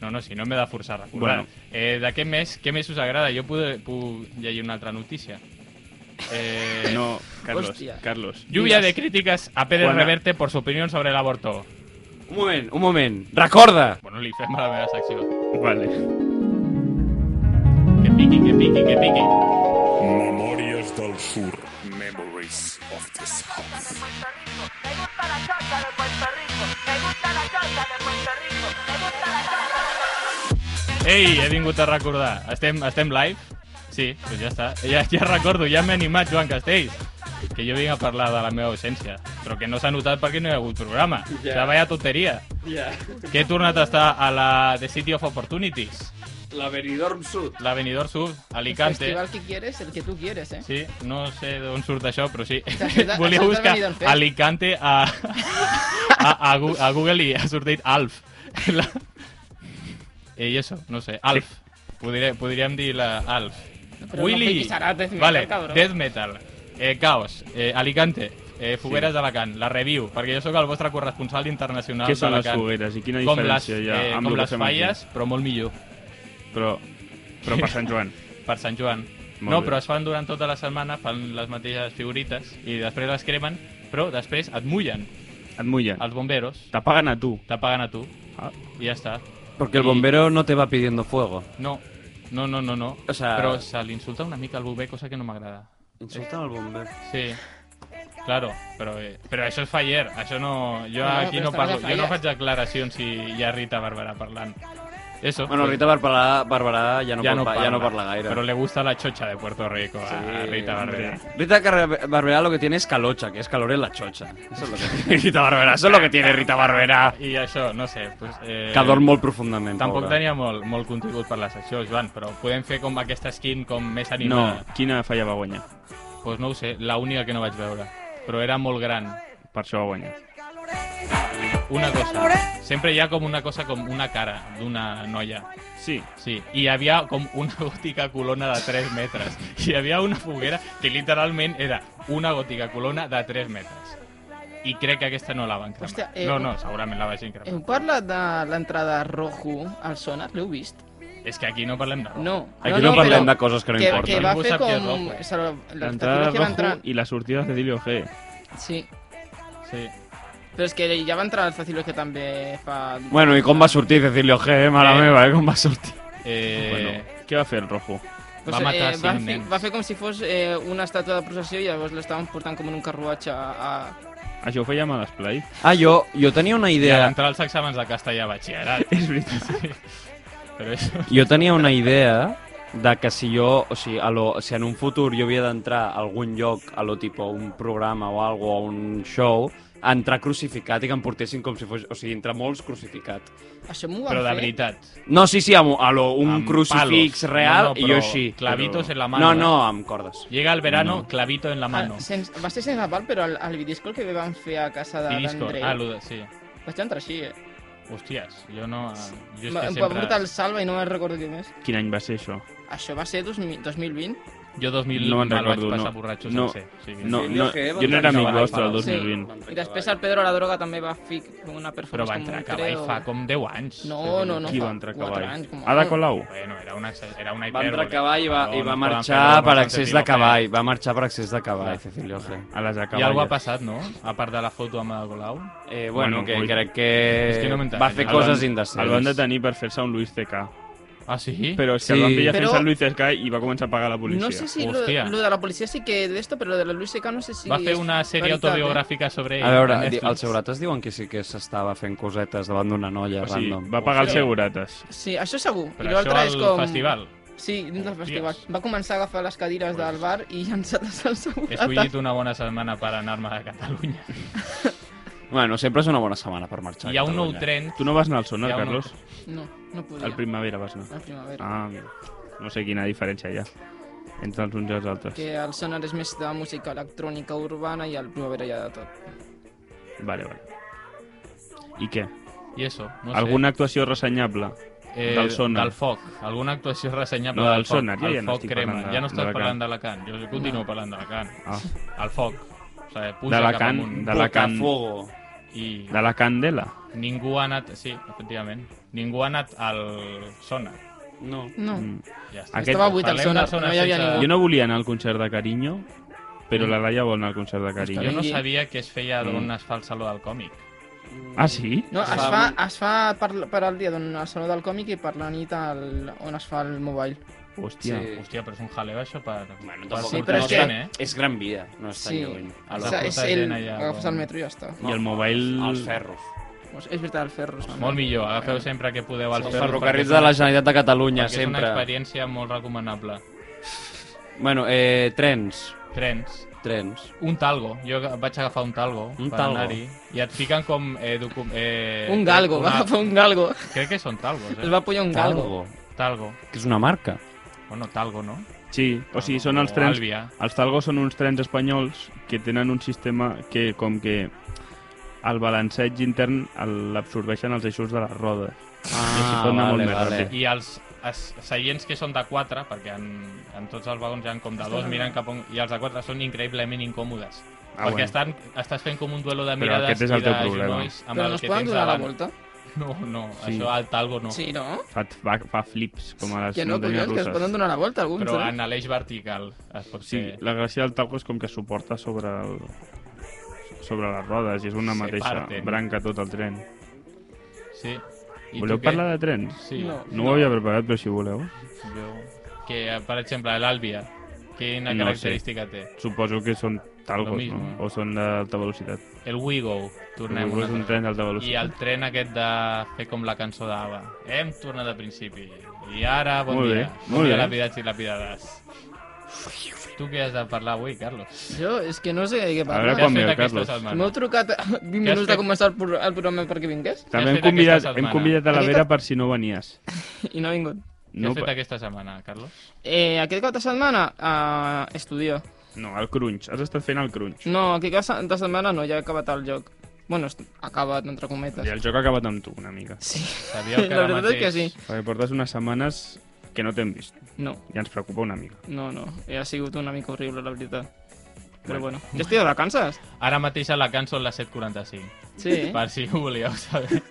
[SPEAKER 3] no, no, si no m'he de forçar a recordar.
[SPEAKER 4] Bueno.
[SPEAKER 3] Bueno. Eh, de què més, què més us agrada? Jo puc, puc llegir una altra notícia. Eh, no.
[SPEAKER 4] No, Carlos,
[SPEAKER 6] Hòstia.
[SPEAKER 4] Carlos.
[SPEAKER 3] Lluvia de crítiques a Pérez
[SPEAKER 4] Quan-
[SPEAKER 3] Reverte por su opinión sobre el aborto.
[SPEAKER 5] Un moment, un moment. Recorda!
[SPEAKER 3] Bueno, li fem a la meva secció.
[SPEAKER 4] Vale.
[SPEAKER 3] Que piqui, que piqui, que piqui.
[SPEAKER 7] Memòries del Sur. Memories of the South.
[SPEAKER 8] Me gusta la salsa de Puerto Rico. Me gusta la salsa de Puerto Rico. Me gusta la salsa de Puerto Rico.
[SPEAKER 3] Ei, he vingut a recordar. Estem, estem live? Sí, doncs ja està. Ja, ja recordo, ja m'he animat, Joan Castells. Que jo vinc a parlar de la meva ausència, però que no s'ha notat perquè no hi ha hagut programa. Yeah. O sigui, vaya tonteria. Yeah. Que he tornat a estar a la The City of Opportunities,
[SPEAKER 2] La Benidorm Sud.
[SPEAKER 3] La Benidorm Sud,
[SPEAKER 6] El
[SPEAKER 3] Alicante.
[SPEAKER 6] festival que quieres, el que tú quieres, eh?
[SPEAKER 3] Sí, no sé d'on surt això, però sí.
[SPEAKER 6] S'ha fet- s'ha
[SPEAKER 3] Volia
[SPEAKER 6] fet
[SPEAKER 3] buscar
[SPEAKER 6] Benidorm Fest.
[SPEAKER 3] Alicante a, a, a, Gu- a Google i ha sortit Alf. La... I això, no sé, Alf. Podria, podríem dir la Alf.
[SPEAKER 6] Però no
[SPEAKER 3] Willy.
[SPEAKER 6] fiquis ara Death Metal,
[SPEAKER 3] vale,
[SPEAKER 6] cabró.
[SPEAKER 3] Death Metal. Eh, Caos. Eh, Alicante. Eh, fogueres d'Alacant. La review, perquè jo sóc el vostre corresponsal internacional
[SPEAKER 4] Què són les
[SPEAKER 3] d'Alacant.
[SPEAKER 4] fogueres i quina
[SPEAKER 3] Com les,
[SPEAKER 4] diferència hi ha
[SPEAKER 3] eh,
[SPEAKER 4] amb
[SPEAKER 3] com
[SPEAKER 4] el que
[SPEAKER 3] les
[SPEAKER 4] fem aquí?
[SPEAKER 3] falles, però molt millor.
[SPEAKER 4] Però, però per Sant Joan.
[SPEAKER 3] per Sant Joan.
[SPEAKER 4] Molt
[SPEAKER 3] no,
[SPEAKER 4] bé.
[SPEAKER 3] però es fan durant tota la setmana, fan les mateixes figurites i després les cremen, però després et mullen
[SPEAKER 4] Et mullen.
[SPEAKER 3] els bomberos,
[SPEAKER 4] T'apaguen a tu.
[SPEAKER 3] t'apaguen a tu
[SPEAKER 4] Ah.
[SPEAKER 3] i ja està.
[SPEAKER 2] Porque el
[SPEAKER 3] I-
[SPEAKER 2] bombero no te va pidiendo fuego.
[SPEAKER 3] No, no, no, no, no.
[SPEAKER 2] O sea-
[SPEAKER 3] Però se li insulta una mica al bober, cosa que no m'agrada.
[SPEAKER 2] Insultan al bombero.
[SPEAKER 3] Sí, claro, però, eh, però això és fa ayer, això no... Jo
[SPEAKER 6] No,
[SPEAKER 3] aquí
[SPEAKER 6] però
[SPEAKER 3] no
[SPEAKER 6] estan
[SPEAKER 3] parlo,
[SPEAKER 6] les
[SPEAKER 3] jo no
[SPEAKER 6] falles.
[SPEAKER 3] faig declaracions si hi ha Rita Barberà parlant. Eso.
[SPEAKER 2] Bueno,
[SPEAKER 3] pues,
[SPEAKER 2] Rita Barberà, Barberà ja, no
[SPEAKER 3] ja
[SPEAKER 2] ja, no parla, ja no parla gaire.
[SPEAKER 3] Però le gusta la xocha de Puerto Rico a, a Rita Barberà.
[SPEAKER 2] Rita Car- Barberá lo que tiene es calocha, que es calor en la chocha. Eso es lo
[SPEAKER 3] *laughs*
[SPEAKER 2] que tiene Rita Barberá, eso es lo que tiene Rita Barberá.
[SPEAKER 3] I això, no sé, pues, eh,
[SPEAKER 2] Calor molt profundament,
[SPEAKER 3] Tampoc
[SPEAKER 2] pobra.
[SPEAKER 3] tenia molt, molt contingut per la secció, Joan, però podem fer com aquesta skin com més
[SPEAKER 4] No,
[SPEAKER 3] animada.
[SPEAKER 4] quina falla va guanyar?
[SPEAKER 3] Doncs pues no ho sé, la única que no vaig veure. Però era molt gran.
[SPEAKER 4] Per això va guanyar.
[SPEAKER 3] Una cosa, sempre hi ha com una cosa com una cara d'una noia.
[SPEAKER 4] Sí,
[SPEAKER 3] Sí, i hi havia com una *laughs* gòtica colona de 3 metres. Hi havia una foguera que literalment era una gòtica colona de 3 metres. I crec que aquesta no la van cremar.
[SPEAKER 6] Hòstia, eh,
[SPEAKER 3] no, no, segurament la vagin cremar.
[SPEAKER 6] Heu parlat de l'entrada rojo al sonar? L'heu vist?
[SPEAKER 3] És que aquí no parlem de rock.
[SPEAKER 6] No.
[SPEAKER 2] Aquí no, parlem
[SPEAKER 6] però
[SPEAKER 2] de coses que no
[SPEAKER 6] que,
[SPEAKER 2] importen.
[SPEAKER 6] que va
[SPEAKER 3] Ningú
[SPEAKER 6] fer
[SPEAKER 3] sap qui és
[SPEAKER 6] com...
[SPEAKER 3] rojo.
[SPEAKER 6] se-
[SPEAKER 4] l'entrada
[SPEAKER 6] L'espectacle que va
[SPEAKER 4] rojo
[SPEAKER 6] entrar...
[SPEAKER 4] i la sortida de Cecilio G.
[SPEAKER 6] Sí,
[SPEAKER 3] Sí.
[SPEAKER 6] però és que ja va entrar el Facilo que també fa...
[SPEAKER 2] Bueno, i com va sortir Cecilio G, eh, mare
[SPEAKER 3] Eh.
[SPEAKER 2] meva, eh, com va sortir.
[SPEAKER 3] Eh,
[SPEAKER 4] Bueno, què va fer el rojo?
[SPEAKER 3] va matar
[SPEAKER 6] Pues, eh, va,
[SPEAKER 3] cinc
[SPEAKER 6] fer,
[SPEAKER 3] nens.
[SPEAKER 6] va fer com si fos eh, una estàtua de processió i llavors l'estaven portant com en un carruatge a... a...
[SPEAKER 4] Això ho fèiem a l'esplai.
[SPEAKER 2] Ah, jo, jo tenia una
[SPEAKER 3] I a
[SPEAKER 2] idea,
[SPEAKER 3] l'entrar als exàmens de castellà a batxillerat.
[SPEAKER 4] És veritat.
[SPEAKER 3] Sí. Però és...
[SPEAKER 2] jo tenia una idea de que si jo, o sigui, a lo, si en un futur jo havia d'entrar a algun lloc, a lo tipo un programa o algo, o un show, entrar crucificat i que em portessin com si fos... O sigui, entrar molts crucificat.
[SPEAKER 6] Això m'ho van
[SPEAKER 3] Però de
[SPEAKER 6] fer...
[SPEAKER 3] veritat.
[SPEAKER 2] No, sí, sí, amb, a lo, un
[SPEAKER 3] Amb
[SPEAKER 2] crucifix
[SPEAKER 3] palos.
[SPEAKER 2] real
[SPEAKER 3] No, no,
[SPEAKER 2] i
[SPEAKER 3] però
[SPEAKER 2] jo així.
[SPEAKER 3] clavitos en la
[SPEAKER 2] No,
[SPEAKER 3] mano,
[SPEAKER 2] no, amb cordes.
[SPEAKER 3] Llega el verano, clavito en la
[SPEAKER 6] Ah,
[SPEAKER 3] mano.
[SPEAKER 6] sens, va ser sense pal, però el, el vidisco que vam fer a casa de
[SPEAKER 3] Disco.
[SPEAKER 6] l'Andrei...
[SPEAKER 3] Ah, lo de... sí.
[SPEAKER 6] Vaig entrar així, eh?
[SPEAKER 3] Hòsties, jo no... eh, Jo és
[SPEAKER 6] Va,
[SPEAKER 3] que
[SPEAKER 6] em va portar el
[SPEAKER 3] sempre...
[SPEAKER 6] Salva i no me'n recordo què més.
[SPEAKER 4] Quin any va ser això?
[SPEAKER 6] Això va ser 2000, 2020?
[SPEAKER 3] Jo 2000
[SPEAKER 4] No
[SPEAKER 3] no
[SPEAKER 4] me'n
[SPEAKER 3] me'l vaig
[SPEAKER 4] recordo,
[SPEAKER 3] passar
[SPEAKER 4] no.
[SPEAKER 3] borratxo
[SPEAKER 4] No.
[SPEAKER 3] sencer. O sigui,
[SPEAKER 4] No,
[SPEAKER 2] Sí,
[SPEAKER 4] no,
[SPEAKER 2] Leo G va
[SPEAKER 4] jo no era
[SPEAKER 2] entrar
[SPEAKER 4] amic
[SPEAKER 2] a la
[SPEAKER 4] vostre el
[SPEAKER 2] Barça.
[SPEAKER 4] 2020.
[SPEAKER 6] I després el Pedro la droga també va fer una performance
[SPEAKER 3] Però va
[SPEAKER 6] com
[SPEAKER 3] entrar a
[SPEAKER 6] un
[SPEAKER 3] cavall
[SPEAKER 6] creu.
[SPEAKER 3] fa com 10 anys.
[SPEAKER 6] No, no, no.
[SPEAKER 4] Qui
[SPEAKER 6] fa
[SPEAKER 4] va entrar a
[SPEAKER 6] quatre
[SPEAKER 4] cavall?
[SPEAKER 6] anys, com a-
[SPEAKER 4] Ada Colau?
[SPEAKER 3] Bueno, era una, era una
[SPEAKER 2] Va
[SPEAKER 3] hipèrbole.
[SPEAKER 2] entrar a cavall i va, i
[SPEAKER 3] No,
[SPEAKER 2] va
[SPEAKER 3] no
[SPEAKER 2] marxar
[SPEAKER 3] poden fer
[SPEAKER 2] per
[SPEAKER 3] broma
[SPEAKER 2] accés
[SPEAKER 3] sense
[SPEAKER 2] de
[SPEAKER 3] dir
[SPEAKER 2] cavall.
[SPEAKER 3] no
[SPEAKER 2] Va marxar per accés de cavall, Cecilio G.
[SPEAKER 4] A
[SPEAKER 3] fer. I
[SPEAKER 4] les
[SPEAKER 3] alguna ha
[SPEAKER 4] acaballes.
[SPEAKER 3] passat, no? A part de la foto amb el Golau?
[SPEAKER 2] Eh, bueno,
[SPEAKER 4] Bueno,
[SPEAKER 2] que
[SPEAKER 4] ui.
[SPEAKER 2] crec
[SPEAKER 3] És que
[SPEAKER 2] que
[SPEAKER 3] no m'he
[SPEAKER 2] va
[SPEAKER 3] enterat.
[SPEAKER 2] fer
[SPEAKER 3] El
[SPEAKER 2] coses
[SPEAKER 3] van-
[SPEAKER 2] indecents.
[SPEAKER 4] El van detenir per fer-se un Luis CK.
[SPEAKER 3] Ah, sí?
[SPEAKER 4] Però és
[SPEAKER 2] Sí.
[SPEAKER 4] que el van pillar fent
[SPEAKER 6] Però-
[SPEAKER 4] el Luis CK i va començar a pagar la policia.
[SPEAKER 6] No sé si lo,
[SPEAKER 3] Hòstia.
[SPEAKER 6] lo de la policia sí que de esto, pero lo de la Luis Seca no sé si...
[SPEAKER 3] Va fer
[SPEAKER 6] és
[SPEAKER 3] una sèrie
[SPEAKER 6] veritat, eh?
[SPEAKER 3] autobiogràfica sobre ell.
[SPEAKER 2] A veure,
[SPEAKER 3] a
[SPEAKER 2] di-
[SPEAKER 3] Netflix.
[SPEAKER 2] els segurates diuen que sí que s'estava fent cosetes davant d'una noia
[SPEAKER 4] O sigui,
[SPEAKER 2] random.
[SPEAKER 4] va pagar els
[SPEAKER 3] Hòstia.
[SPEAKER 4] segurates.
[SPEAKER 6] Eh? Sí, això segur.
[SPEAKER 3] Però
[SPEAKER 6] I
[SPEAKER 3] això
[SPEAKER 6] l'altre
[SPEAKER 3] al
[SPEAKER 6] és com...
[SPEAKER 3] festival.
[SPEAKER 6] Sí, dins del
[SPEAKER 3] Hòsties.
[SPEAKER 6] festival. Va començar a agafar les cadires
[SPEAKER 3] Pues-
[SPEAKER 6] del bar i llançar-les al
[SPEAKER 3] He
[SPEAKER 6] segurata.
[SPEAKER 3] escollit una bona setmana per anar-me a Catalunya.
[SPEAKER 2] Bueno, sempre és una bona setmana per marxar. a
[SPEAKER 3] Hi ha un nou
[SPEAKER 2] Catalunya.
[SPEAKER 3] tren...
[SPEAKER 4] Tu no vas anar al sonar,
[SPEAKER 3] Hi ha un-
[SPEAKER 4] Carlos?
[SPEAKER 6] No, no podia.
[SPEAKER 4] Al Primavera vas anar.
[SPEAKER 6] La primavera.
[SPEAKER 4] Ah, mira. No sé quina diferència hi ha entre els uns i els altres.
[SPEAKER 6] Que el sonar és més de música electrònica urbana i el primavera ja de tot.
[SPEAKER 4] Vale, vale. I què?
[SPEAKER 3] I això, no sé.
[SPEAKER 4] Alguna actuació ressenyable?
[SPEAKER 3] eh,
[SPEAKER 4] del Sonar.
[SPEAKER 3] Del foc. Alguna actuació ressenyable
[SPEAKER 4] No, del
[SPEAKER 3] del foc.
[SPEAKER 4] Sonar, jo
[SPEAKER 3] el
[SPEAKER 4] ja no
[SPEAKER 3] foc
[SPEAKER 4] estic
[SPEAKER 3] crema.
[SPEAKER 4] parlant de-
[SPEAKER 3] ja no estàs
[SPEAKER 4] d'Alacant.
[SPEAKER 3] parlant d'Alacant. Jo continuo parlant d'Alacant.
[SPEAKER 4] Ah,
[SPEAKER 3] El foc. O sigui, puja cap
[SPEAKER 4] D'Alacant-
[SPEAKER 3] amunt.
[SPEAKER 4] de la can...
[SPEAKER 2] Botafogo.
[SPEAKER 3] I
[SPEAKER 4] De la Candela.
[SPEAKER 3] ningú ha anat... Sí, efectivament. Ningú ha anat al Sonar.
[SPEAKER 2] No.
[SPEAKER 6] No.
[SPEAKER 4] Mm.
[SPEAKER 3] Ja està.
[SPEAKER 4] Aquest-
[SPEAKER 6] Estava buit el
[SPEAKER 3] Parlem
[SPEAKER 6] sonar,
[SPEAKER 3] del Sonar
[SPEAKER 6] no hi havia
[SPEAKER 3] sense-
[SPEAKER 6] ningú.
[SPEAKER 4] Jo no volia anar al concert de Carinyo, però la Laia vol anar al concert de
[SPEAKER 3] Jo
[SPEAKER 4] Carinyo.
[SPEAKER 3] no
[SPEAKER 6] Sí.
[SPEAKER 3] sabia que es feia
[SPEAKER 4] Mm.
[SPEAKER 3] d'on es fa el saló del còmic.
[SPEAKER 4] Ah, sí?
[SPEAKER 6] No, es
[SPEAKER 2] Fa
[SPEAKER 6] fa,
[SPEAKER 2] un-
[SPEAKER 6] es fa per, per al dia d'on el saló del còmic i per la nit al, on es fa el mobile.
[SPEAKER 4] Hòstia.
[SPEAKER 2] Sí.
[SPEAKER 3] Hòstia, però és un jaleo això per... Bueno,
[SPEAKER 2] Tampoc
[SPEAKER 6] Sí,
[SPEAKER 2] no
[SPEAKER 6] però
[SPEAKER 2] és,
[SPEAKER 6] és
[SPEAKER 2] gran,
[SPEAKER 3] eh?
[SPEAKER 2] és gran vida, no és tan
[SPEAKER 6] Sí.
[SPEAKER 2] lluny.
[SPEAKER 3] A
[SPEAKER 6] O
[SPEAKER 3] la
[SPEAKER 6] sea,
[SPEAKER 3] puta
[SPEAKER 6] és el...
[SPEAKER 3] gent allà,
[SPEAKER 6] Agafes
[SPEAKER 3] com-
[SPEAKER 6] el metro i ja està.
[SPEAKER 4] I el mobile...
[SPEAKER 2] Els ferros.
[SPEAKER 6] Pues és veritat, el Ferros.
[SPEAKER 3] Molt millor, agafeu sempre que podeu als
[SPEAKER 2] Els
[SPEAKER 3] ferros,
[SPEAKER 2] ferrocarrils
[SPEAKER 3] perquè
[SPEAKER 2] de la
[SPEAKER 3] és una-
[SPEAKER 2] Generalitat de Catalunya,
[SPEAKER 3] Perquè és una
[SPEAKER 2] sempre.
[SPEAKER 3] experiència molt recomanable.
[SPEAKER 2] Bueno, eh, trens.
[SPEAKER 3] Trens.
[SPEAKER 2] Trens.
[SPEAKER 3] Un talgo. Jo vaig agafar un talgo
[SPEAKER 2] Un
[SPEAKER 3] per
[SPEAKER 2] talgo.
[SPEAKER 3] anar-hi. I et fiquen com... Eh, docu... eh,
[SPEAKER 6] Un galgo, *laughs* va
[SPEAKER 3] una-
[SPEAKER 6] agafar un galgo.
[SPEAKER 3] *laughs* Crec que són talgos, eh?
[SPEAKER 6] Es va pujar un galgo.
[SPEAKER 2] Talgo.
[SPEAKER 3] Talgo.
[SPEAKER 5] que és una marca.
[SPEAKER 3] Bueno, Talgo, no?
[SPEAKER 4] Sí, o sigui, són
[SPEAKER 3] Oh,
[SPEAKER 4] els trens...
[SPEAKER 3] Alvia.
[SPEAKER 4] Els Talgo són uns trens espanyols que tenen un sistema que, com que el balanceig intern el- l'absorbeixen els eixos de les rodes. I així pot
[SPEAKER 2] Ah,
[SPEAKER 4] anar molt més ràpid.
[SPEAKER 3] I els, els seients que són de 4, perquè en, en tots els vagons hi ha com de 2, miren cap on... I els de 4 són increïblement incòmodes.
[SPEAKER 4] Ah,
[SPEAKER 3] perquè
[SPEAKER 4] bueno.
[SPEAKER 3] estan, estàs fent com un duelo de
[SPEAKER 4] Però
[SPEAKER 3] mirades
[SPEAKER 4] aquest és el
[SPEAKER 3] i
[SPEAKER 4] teu
[SPEAKER 3] de
[SPEAKER 4] problema.
[SPEAKER 3] genolls amb
[SPEAKER 6] Però
[SPEAKER 3] el
[SPEAKER 6] no es
[SPEAKER 3] que
[SPEAKER 6] poden
[SPEAKER 3] tens
[SPEAKER 6] donar la
[SPEAKER 3] davant.
[SPEAKER 6] volta?
[SPEAKER 3] No, no,
[SPEAKER 4] Sí.
[SPEAKER 3] això al Talgo no. Ah,
[SPEAKER 6] Sí, no?
[SPEAKER 4] Fa, fa, fa flips, com a les
[SPEAKER 6] Que no,
[SPEAKER 4] muntanyes
[SPEAKER 6] collons, que es
[SPEAKER 4] russes.
[SPEAKER 6] poden donar la volta alguns,
[SPEAKER 3] Però
[SPEAKER 6] eh?
[SPEAKER 3] en l'eix vertical es pot
[SPEAKER 4] Sí,
[SPEAKER 3] fer...
[SPEAKER 4] la gràcia del talco és com que suporta sobre el sobre les rodes i és una
[SPEAKER 3] Se
[SPEAKER 4] mateixa
[SPEAKER 3] parten.
[SPEAKER 4] branca tot el tren.
[SPEAKER 3] Sí. I
[SPEAKER 4] Voleu
[SPEAKER 3] tu què?
[SPEAKER 4] parlar de trens?
[SPEAKER 3] Sí.
[SPEAKER 6] No.
[SPEAKER 4] No, ho havia preparat, però si voleu.
[SPEAKER 3] Jo... Que, eh, per exemple, l'Àlvia, quina
[SPEAKER 4] No sé.
[SPEAKER 3] característica té?
[SPEAKER 4] Suposo que són
[SPEAKER 3] Lo
[SPEAKER 4] talcos,
[SPEAKER 3] mismo.
[SPEAKER 4] no? O són d'alta velocitat.
[SPEAKER 3] El WeGo, tornem
[SPEAKER 4] Suposo
[SPEAKER 3] una
[SPEAKER 4] que és un
[SPEAKER 3] altra
[SPEAKER 4] tren d'alta
[SPEAKER 3] I
[SPEAKER 4] velocitat.
[SPEAKER 3] el tren aquest de fer com la cançó d'Ava. Hem tornat al principi. I ara, bon
[SPEAKER 4] Molt
[SPEAKER 3] dia.
[SPEAKER 4] bé,
[SPEAKER 3] bon
[SPEAKER 4] molt
[SPEAKER 3] dia,
[SPEAKER 4] bé.
[SPEAKER 3] lapidats i lapidades. Tu què has de parlar avui, Carlos?
[SPEAKER 6] Jo és que no sé de què
[SPEAKER 4] A veure
[SPEAKER 3] Què
[SPEAKER 6] parlar.
[SPEAKER 4] quan
[SPEAKER 3] has fet
[SPEAKER 4] veu,
[SPEAKER 3] aquesta
[SPEAKER 4] Carlos?
[SPEAKER 3] setmana?
[SPEAKER 6] M'heu *laughs* trucat a 20
[SPEAKER 3] Què has
[SPEAKER 6] minuts de
[SPEAKER 3] fet?
[SPEAKER 6] començar el, pro- el programa perquè vingués
[SPEAKER 4] També
[SPEAKER 3] Què
[SPEAKER 4] hem
[SPEAKER 3] has fet
[SPEAKER 4] convidat,
[SPEAKER 3] aquesta
[SPEAKER 4] hem
[SPEAKER 3] setmana?
[SPEAKER 4] convidat a la
[SPEAKER 6] Aquest-
[SPEAKER 4] Vera per si no venies.
[SPEAKER 6] i no ha vingut.
[SPEAKER 3] Què has
[SPEAKER 4] No,
[SPEAKER 3] fet
[SPEAKER 4] pa-
[SPEAKER 3] aquesta setmana, Carlos?
[SPEAKER 6] *laughs* Eh, aquest cap de setmana eh, estudio.
[SPEAKER 4] no, el crunch. Has estat fent el crunch.
[SPEAKER 6] No, aquest cap de setmana no, ja he acabat el joc. Bueno, est- acabat, entre cometes.
[SPEAKER 4] I el joc ha acabat amb tu, una mica.
[SPEAKER 6] Sí, *laughs*
[SPEAKER 3] Sabíeu que
[SPEAKER 6] la
[SPEAKER 3] ara
[SPEAKER 6] veritat és que
[SPEAKER 3] mateix-
[SPEAKER 6] sí.
[SPEAKER 4] Perquè portes unes setmanes que no t'hem vist.
[SPEAKER 6] No,
[SPEAKER 4] I ens preocupa una mica.
[SPEAKER 6] no, no, eh, ha sigut una mica horrible, la veritat. Però bueno, jo estic de vacances.
[SPEAKER 3] Ara mateix a la cançó la 745.
[SPEAKER 6] Sí,
[SPEAKER 3] per si ho volíeu saber.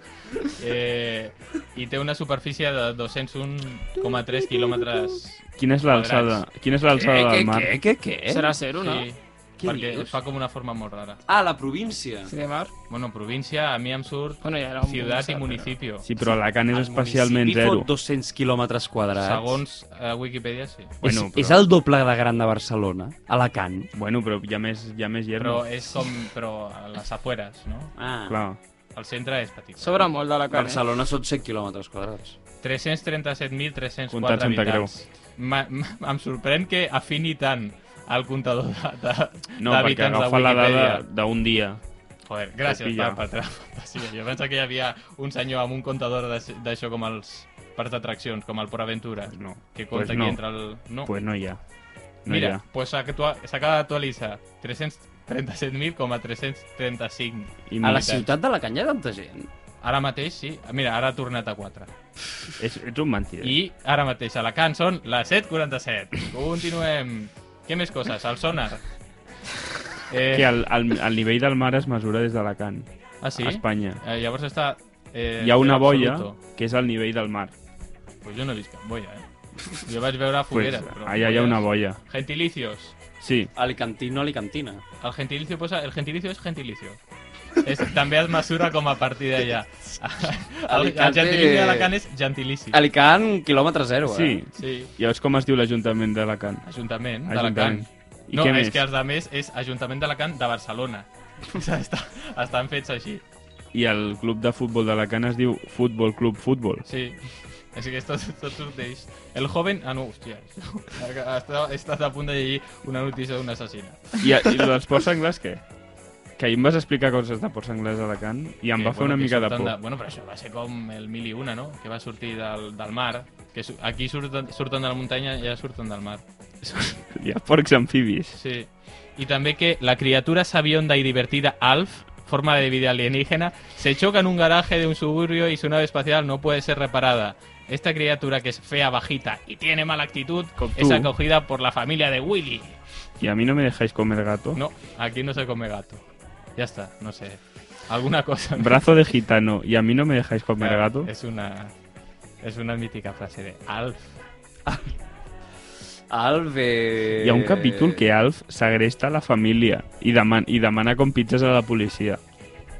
[SPEAKER 3] Eh, I té una superfície de 201,3 quilòmetres.
[SPEAKER 4] Quina és l'alçada? Quina és l'alçada del mar?
[SPEAKER 5] Eh, Què, què, què?
[SPEAKER 6] serà zero, no?
[SPEAKER 3] Sí,
[SPEAKER 5] Què
[SPEAKER 3] perquè
[SPEAKER 5] dius?
[SPEAKER 3] fa com una forma molt rara.
[SPEAKER 5] Ah, la província.
[SPEAKER 6] Sí, de mar.
[SPEAKER 3] Bueno, província, a mi em surt
[SPEAKER 6] Bueno, ja era un
[SPEAKER 3] ciutat i
[SPEAKER 6] municipi,
[SPEAKER 3] municipi.
[SPEAKER 4] Sí, però Alacant és
[SPEAKER 5] El
[SPEAKER 4] especialment
[SPEAKER 5] municipi fot
[SPEAKER 4] zero.
[SPEAKER 5] 200 quilòmetres quadrats.
[SPEAKER 3] Segons eh, Wikipedia, sí.
[SPEAKER 5] És,
[SPEAKER 4] Bueno, però-
[SPEAKER 5] és el doble de gran de Barcelona, Alacant.
[SPEAKER 4] Bueno, però hi ha més, hi ha més
[SPEAKER 3] Però eh,
[SPEAKER 4] hierro.
[SPEAKER 3] és com... Però a les afueres, no?
[SPEAKER 5] Ah,
[SPEAKER 4] Clar.
[SPEAKER 3] El centre és petit.
[SPEAKER 6] Sobre molt de la carn. eh?
[SPEAKER 5] Barcelona són 100 quilòmetres quadrats.
[SPEAKER 3] 337.304
[SPEAKER 4] Comptat Santa
[SPEAKER 3] habitants. Ma- ma- Em sorprèn que afini tant el comptador de, de,
[SPEAKER 4] No, perquè
[SPEAKER 3] d'habitants de
[SPEAKER 4] agafa la dada
[SPEAKER 3] Wikipedia.
[SPEAKER 4] d'un dia.
[SPEAKER 3] Joder, gràcies,
[SPEAKER 4] Copilla.
[SPEAKER 3] va, per trampa. Sí, jo penso que hi havia un senyor amb un comptador d'aix- d'això com els parcs d'atraccions, com el Port Aventura,
[SPEAKER 4] No.
[SPEAKER 3] que
[SPEAKER 4] Pues
[SPEAKER 3] compta
[SPEAKER 4] no.
[SPEAKER 3] qui entra al... No.
[SPEAKER 4] Pues no hi ha. No hi
[SPEAKER 3] Mira,
[SPEAKER 4] ha.
[SPEAKER 3] pues actua- s'acaba d'actualitzar 337.335.
[SPEAKER 4] I
[SPEAKER 5] A
[SPEAKER 4] mira,
[SPEAKER 5] la ciutat d'Alacant hi ha tanta gent?
[SPEAKER 3] Ara mateix, sí. Mira, ara ha tornat a 4.
[SPEAKER 4] és, ets un mentider.
[SPEAKER 3] I ara mateix a la Can són les 7.47. Continuem. Què més coses? El sonar. Eh,
[SPEAKER 4] Que el, el, el nivell del mar es mesura des d'Alacant,
[SPEAKER 3] ah, sí?
[SPEAKER 4] a Espanya.
[SPEAKER 3] Eh, llavors està... Eh,
[SPEAKER 4] Hi ha una
[SPEAKER 3] zero
[SPEAKER 4] boia
[SPEAKER 3] absoluto.
[SPEAKER 4] que és el nivell del mar.
[SPEAKER 3] Pues jo no he vist cap boia, eh? Jo vaig veure
[SPEAKER 4] Pues,
[SPEAKER 3] fogueres. però
[SPEAKER 4] allà hi ha una
[SPEAKER 3] fogueres-
[SPEAKER 4] boia.
[SPEAKER 3] Gentilicios.
[SPEAKER 4] Sí,
[SPEAKER 5] Alicantino, Alicantina.
[SPEAKER 3] El gentilicio posa... El gentilicio és gentilicio. És, també es mesura com a partir d'allà.
[SPEAKER 4] *laughs*
[SPEAKER 3] El, el
[SPEAKER 5] Alicante-
[SPEAKER 3] gentilicio d'Alacant és gentilici.
[SPEAKER 5] Alicant, quilòmetre zero, eh?
[SPEAKER 4] sí.
[SPEAKER 3] Sí,
[SPEAKER 4] Llavors com es diu l'Ajuntament d'Alacant?
[SPEAKER 3] Ajuntament d'Alacant.
[SPEAKER 4] Ajuntament. I
[SPEAKER 3] No,
[SPEAKER 4] què
[SPEAKER 3] és
[SPEAKER 4] més?
[SPEAKER 3] que els de més és Ajuntament d'Alacant de Barcelona. *laughs* O sigui, Està, estan fets així.
[SPEAKER 4] I el club de futbol d'Alacant es diu Futbol Club Futbol.
[SPEAKER 3] Sí. Així que tot, tot surt d'ells. El joven... Ah, no, *laughs* hòstia. Està, he estat a punt de llegir una notícia d'un assassinat.
[SPEAKER 4] I, i lo dels ports anglès, què? Que ahir em vas explicar coses de ports anglès a Alacant i em
[SPEAKER 3] Que,
[SPEAKER 4] va fer una
[SPEAKER 3] que
[SPEAKER 4] mica de
[SPEAKER 3] surten
[SPEAKER 4] por.
[SPEAKER 3] Bueno, però això va ser com el mil i una, no? Que va sortir del, del mar. Que su- aquí surten, surten de la muntanya i ja surten del mar.
[SPEAKER 4] Hi ha porcs amfibis.
[SPEAKER 3] Sí. Y también que la criatura sabionda y divertida Alf, forma de vida alienígena, se choca en un garaje de un suburbio y su nave espacial no puede ser reparada. Esta criatura que es fea, bajita y tiene mala actitud
[SPEAKER 4] Com
[SPEAKER 3] es
[SPEAKER 4] tú.
[SPEAKER 3] acogida por la familia de Willy.
[SPEAKER 4] I a mi no me dejáis comer gato.
[SPEAKER 3] No, aquí no se come gato. Ya está, no sé. Alguna cosa.
[SPEAKER 4] Brazo de gitano. Y a mí no me dejáis comer
[SPEAKER 3] Claro,
[SPEAKER 4] gato.
[SPEAKER 3] Es una es una mítica frase de Alf.
[SPEAKER 5] Alve...
[SPEAKER 4] Hi ha un capítol que Alf segresta la família i, deman i demana com pizzas a la policia.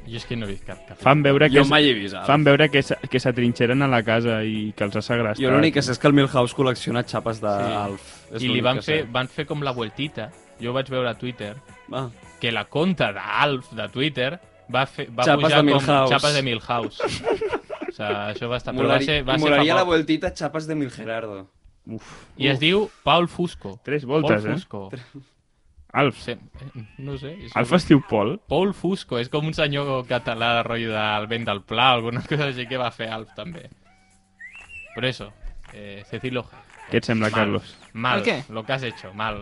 [SPEAKER 3] Yo es que no vi cap- cap-
[SPEAKER 4] Fan veure que,
[SPEAKER 5] Jo
[SPEAKER 4] s-
[SPEAKER 5] mai he vist Alf.
[SPEAKER 4] fan veure que, s- que s'atrinxeren a la casa i que els ha segrestat.
[SPEAKER 5] Jo l'únic que sé és que el Milhouse col·lecciona xapes d'Alf.
[SPEAKER 3] Sí.
[SPEAKER 5] És
[SPEAKER 3] I li
[SPEAKER 5] l'únic
[SPEAKER 3] van
[SPEAKER 5] que sé.
[SPEAKER 3] fer, van fer com la vueltita. Jo ho vaig veure a Twitter
[SPEAKER 5] Ah.
[SPEAKER 3] que la conta d'Alf de Twitter va, fer, va
[SPEAKER 5] Xapes
[SPEAKER 3] pujar
[SPEAKER 5] de
[SPEAKER 3] com
[SPEAKER 5] Milhouse.
[SPEAKER 3] xapes de Milhouse. o sigui, això va estar... Però va
[SPEAKER 5] Molari...
[SPEAKER 3] ser, va ser
[SPEAKER 5] Molaria
[SPEAKER 3] fa
[SPEAKER 5] la
[SPEAKER 3] poc.
[SPEAKER 5] vueltita xapes de Mil Gerardo.
[SPEAKER 4] Uf.
[SPEAKER 3] I es diu Paul Fusco.
[SPEAKER 4] Tres voltes,
[SPEAKER 3] Paul
[SPEAKER 4] eh?
[SPEAKER 3] Fusco.
[SPEAKER 4] Alf.
[SPEAKER 3] Sí, eh, no sé. És
[SPEAKER 4] Alf es diu Pol?
[SPEAKER 3] Paul Fusco, és com un senyor català de rotllo del vent del pla, alguna cosa així que va fer Alf també. Però això, Eh, Cecilio G.
[SPEAKER 4] Què et sembla,
[SPEAKER 3] Mal.
[SPEAKER 4] Carlos?
[SPEAKER 3] Mal,
[SPEAKER 6] El què?
[SPEAKER 3] lo que has hecho, mal.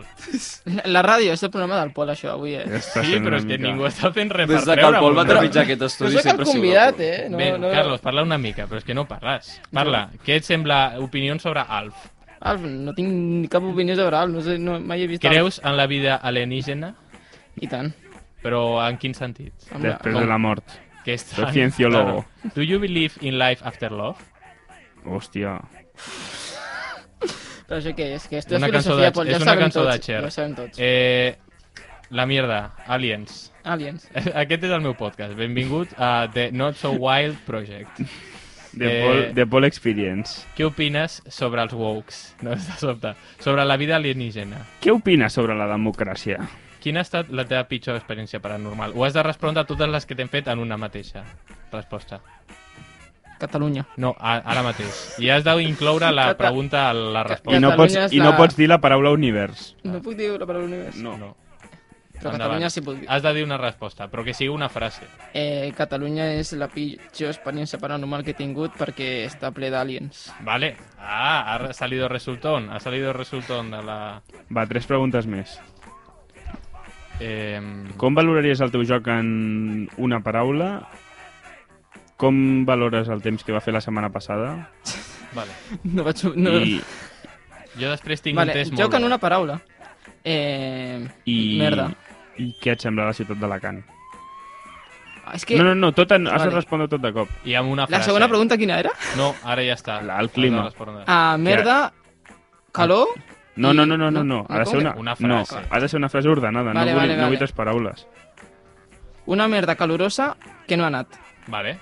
[SPEAKER 6] La, la ràdio, és el programa del Pol, això, avui, eh?
[SPEAKER 4] Ja està
[SPEAKER 3] Sí,
[SPEAKER 4] sent
[SPEAKER 3] però
[SPEAKER 4] una
[SPEAKER 3] és que
[SPEAKER 4] mica-
[SPEAKER 3] ningú està fent res per
[SPEAKER 5] Des de que el
[SPEAKER 3] treure'm,
[SPEAKER 5] Pol va
[SPEAKER 3] no?
[SPEAKER 5] trepitjar aquest
[SPEAKER 6] No
[SPEAKER 5] estudi
[SPEAKER 6] sé cap
[SPEAKER 5] sempre ha sigut el
[SPEAKER 6] convidat,
[SPEAKER 5] Pol.
[SPEAKER 6] eh? No,
[SPEAKER 3] Ben,
[SPEAKER 6] no...
[SPEAKER 3] Carlos, parla una mica, però és que no parles. Parla, què et sembla opinions sobre Alf?
[SPEAKER 6] Alf, Ah, no tinc ni cap opinió sobre Alf, no sé, no, mai he vist Alf.
[SPEAKER 3] Creus en la vida alienígena?
[SPEAKER 6] I tant.
[SPEAKER 3] Però en quin sentit?
[SPEAKER 6] Home,
[SPEAKER 4] Després
[SPEAKER 3] Com-
[SPEAKER 4] de la mort.
[SPEAKER 3] Que és tan-
[SPEAKER 4] Soy cienciólogo.
[SPEAKER 3] Claro. Do you believe in life after love?
[SPEAKER 4] Hòstia.
[SPEAKER 6] Però això què és? Que esto
[SPEAKER 3] Una
[SPEAKER 6] és
[SPEAKER 3] cançó
[SPEAKER 6] filosofia,
[SPEAKER 3] de-
[SPEAKER 6] Pol, ja
[SPEAKER 3] és
[SPEAKER 6] ho
[SPEAKER 3] una
[SPEAKER 6] sabem
[SPEAKER 3] cançó de
[SPEAKER 6] tots.
[SPEAKER 3] Cher.
[SPEAKER 6] Ja ho sabem tots.
[SPEAKER 3] Eh, la mierda, aliens.
[SPEAKER 6] Aliens.
[SPEAKER 3] Aquest és el meu podcast. Benvingut a The Not So Wild Project.
[SPEAKER 4] De,
[SPEAKER 3] Eh,
[SPEAKER 4] Pol, de Pol Experience.
[SPEAKER 3] Què opines sobre els wokes? No, és de sobte. Sobre la vida alienígena.
[SPEAKER 4] Què opines sobre la democràcia?
[SPEAKER 3] Quina ha estat la teva pitjor experiència paranormal? Ho has de respondre a totes les que t'hem fet en una mateixa resposta.
[SPEAKER 6] Catalunya.
[SPEAKER 3] No, a, ara mateix. I has d'incloure
[SPEAKER 6] Tota-
[SPEAKER 3] la pregunta a la
[SPEAKER 4] I
[SPEAKER 3] resposta.
[SPEAKER 4] no,
[SPEAKER 6] Catalunya
[SPEAKER 4] pots,
[SPEAKER 6] és
[SPEAKER 4] I no
[SPEAKER 6] la-
[SPEAKER 4] pots dir la paraula univers.
[SPEAKER 6] No puc dir la paraula univers.
[SPEAKER 4] No.
[SPEAKER 3] no.
[SPEAKER 6] Però
[SPEAKER 3] Endavant.
[SPEAKER 6] Catalunya sí puc dir.
[SPEAKER 3] Has de dir una resposta, però que sigui una frase.
[SPEAKER 6] Eh, Catalunya és la pitjor experiència paranormal que he tingut perquè està ple d'aliens.
[SPEAKER 3] Vale. Ah, ha salido resultón. Ha salido resultón de la...
[SPEAKER 4] Va, tres preguntes més.
[SPEAKER 3] Eh,
[SPEAKER 4] Com valoraries el teu joc en una paraula? Com valores el temps que va fer la setmana passada?
[SPEAKER 3] Vale.
[SPEAKER 6] *laughs* No vaig... No...
[SPEAKER 4] I,
[SPEAKER 3] Jo després tinc un
[SPEAKER 6] Vale,
[SPEAKER 3] test molt
[SPEAKER 6] joc en
[SPEAKER 3] bo.
[SPEAKER 6] una paraula. Eh...
[SPEAKER 4] i,
[SPEAKER 6] Merda.
[SPEAKER 4] I què et sembla la ciutat d'Alacant?
[SPEAKER 6] Ah, És que
[SPEAKER 4] No, no, no, tot en, has de
[SPEAKER 6] Vale.
[SPEAKER 4] respondre tot de cop.
[SPEAKER 3] I amb una
[SPEAKER 6] la
[SPEAKER 3] frase.
[SPEAKER 6] segona pregunta quina era?
[SPEAKER 3] No, ara ja està.
[SPEAKER 4] La- el clima.
[SPEAKER 3] Has de respondre.
[SPEAKER 6] Ah, merda, calor...
[SPEAKER 4] No,
[SPEAKER 6] I-
[SPEAKER 4] no, no, no, no,
[SPEAKER 6] no,
[SPEAKER 4] no. Ha de
[SPEAKER 6] com
[SPEAKER 4] ser
[SPEAKER 6] que-
[SPEAKER 4] una,
[SPEAKER 3] Una frase.
[SPEAKER 4] No, ha de ser una frase ordenada,
[SPEAKER 6] Vale,
[SPEAKER 4] no, vull,
[SPEAKER 6] vale,
[SPEAKER 4] no
[SPEAKER 6] vale.
[SPEAKER 4] vull tres paraules.
[SPEAKER 6] Una merda calorosa que no ha anat.
[SPEAKER 3] Vale.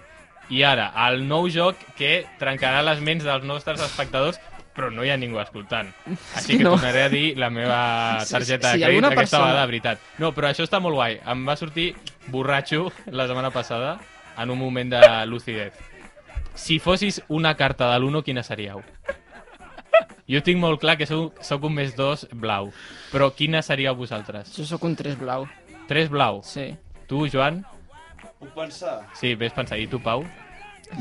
[SPEAKER 3] I ara, el nou joc que trencarà les ments dels nostres espectadors, però no hi ha ningú escoltant. Així
[SPEAKER 6] Sí,
[SPEAKER 3] que
[SPEAKER 6] no.
[SPEAKER 3] tornaré a dir la meva
[SPEAKER 6] Sí,
[SPEAKER 3] targeta de
[SPEAKER 6] sí,
[SPEAKER 3] crèdit
[SPEAKER 6] alguna
[SPEAKER 3] aquesta
[SPEAKER 6] persona-
[SPEAKER 3] vegada, de veritat. No, però això està molt guai. Em va sortir borratxo la setmana passada en un moment de lucidez. Si fossis una carta de l'Uno, quina seríeu? Jo tinc molt clar que sou, sóc un més dos blau, però quina seríeu vosaltres?
[SPEAKER 6] Jo sóc un 3 blau,
[SPEAKER 3] Tres blau.
[SPEAKER 6] sí.
[SPEAKER 3] Tu, Joan?
[SPEAKER 5] Puc pensar?
[SPEAKER 3] Sí, ves pensar. I tu, Pau?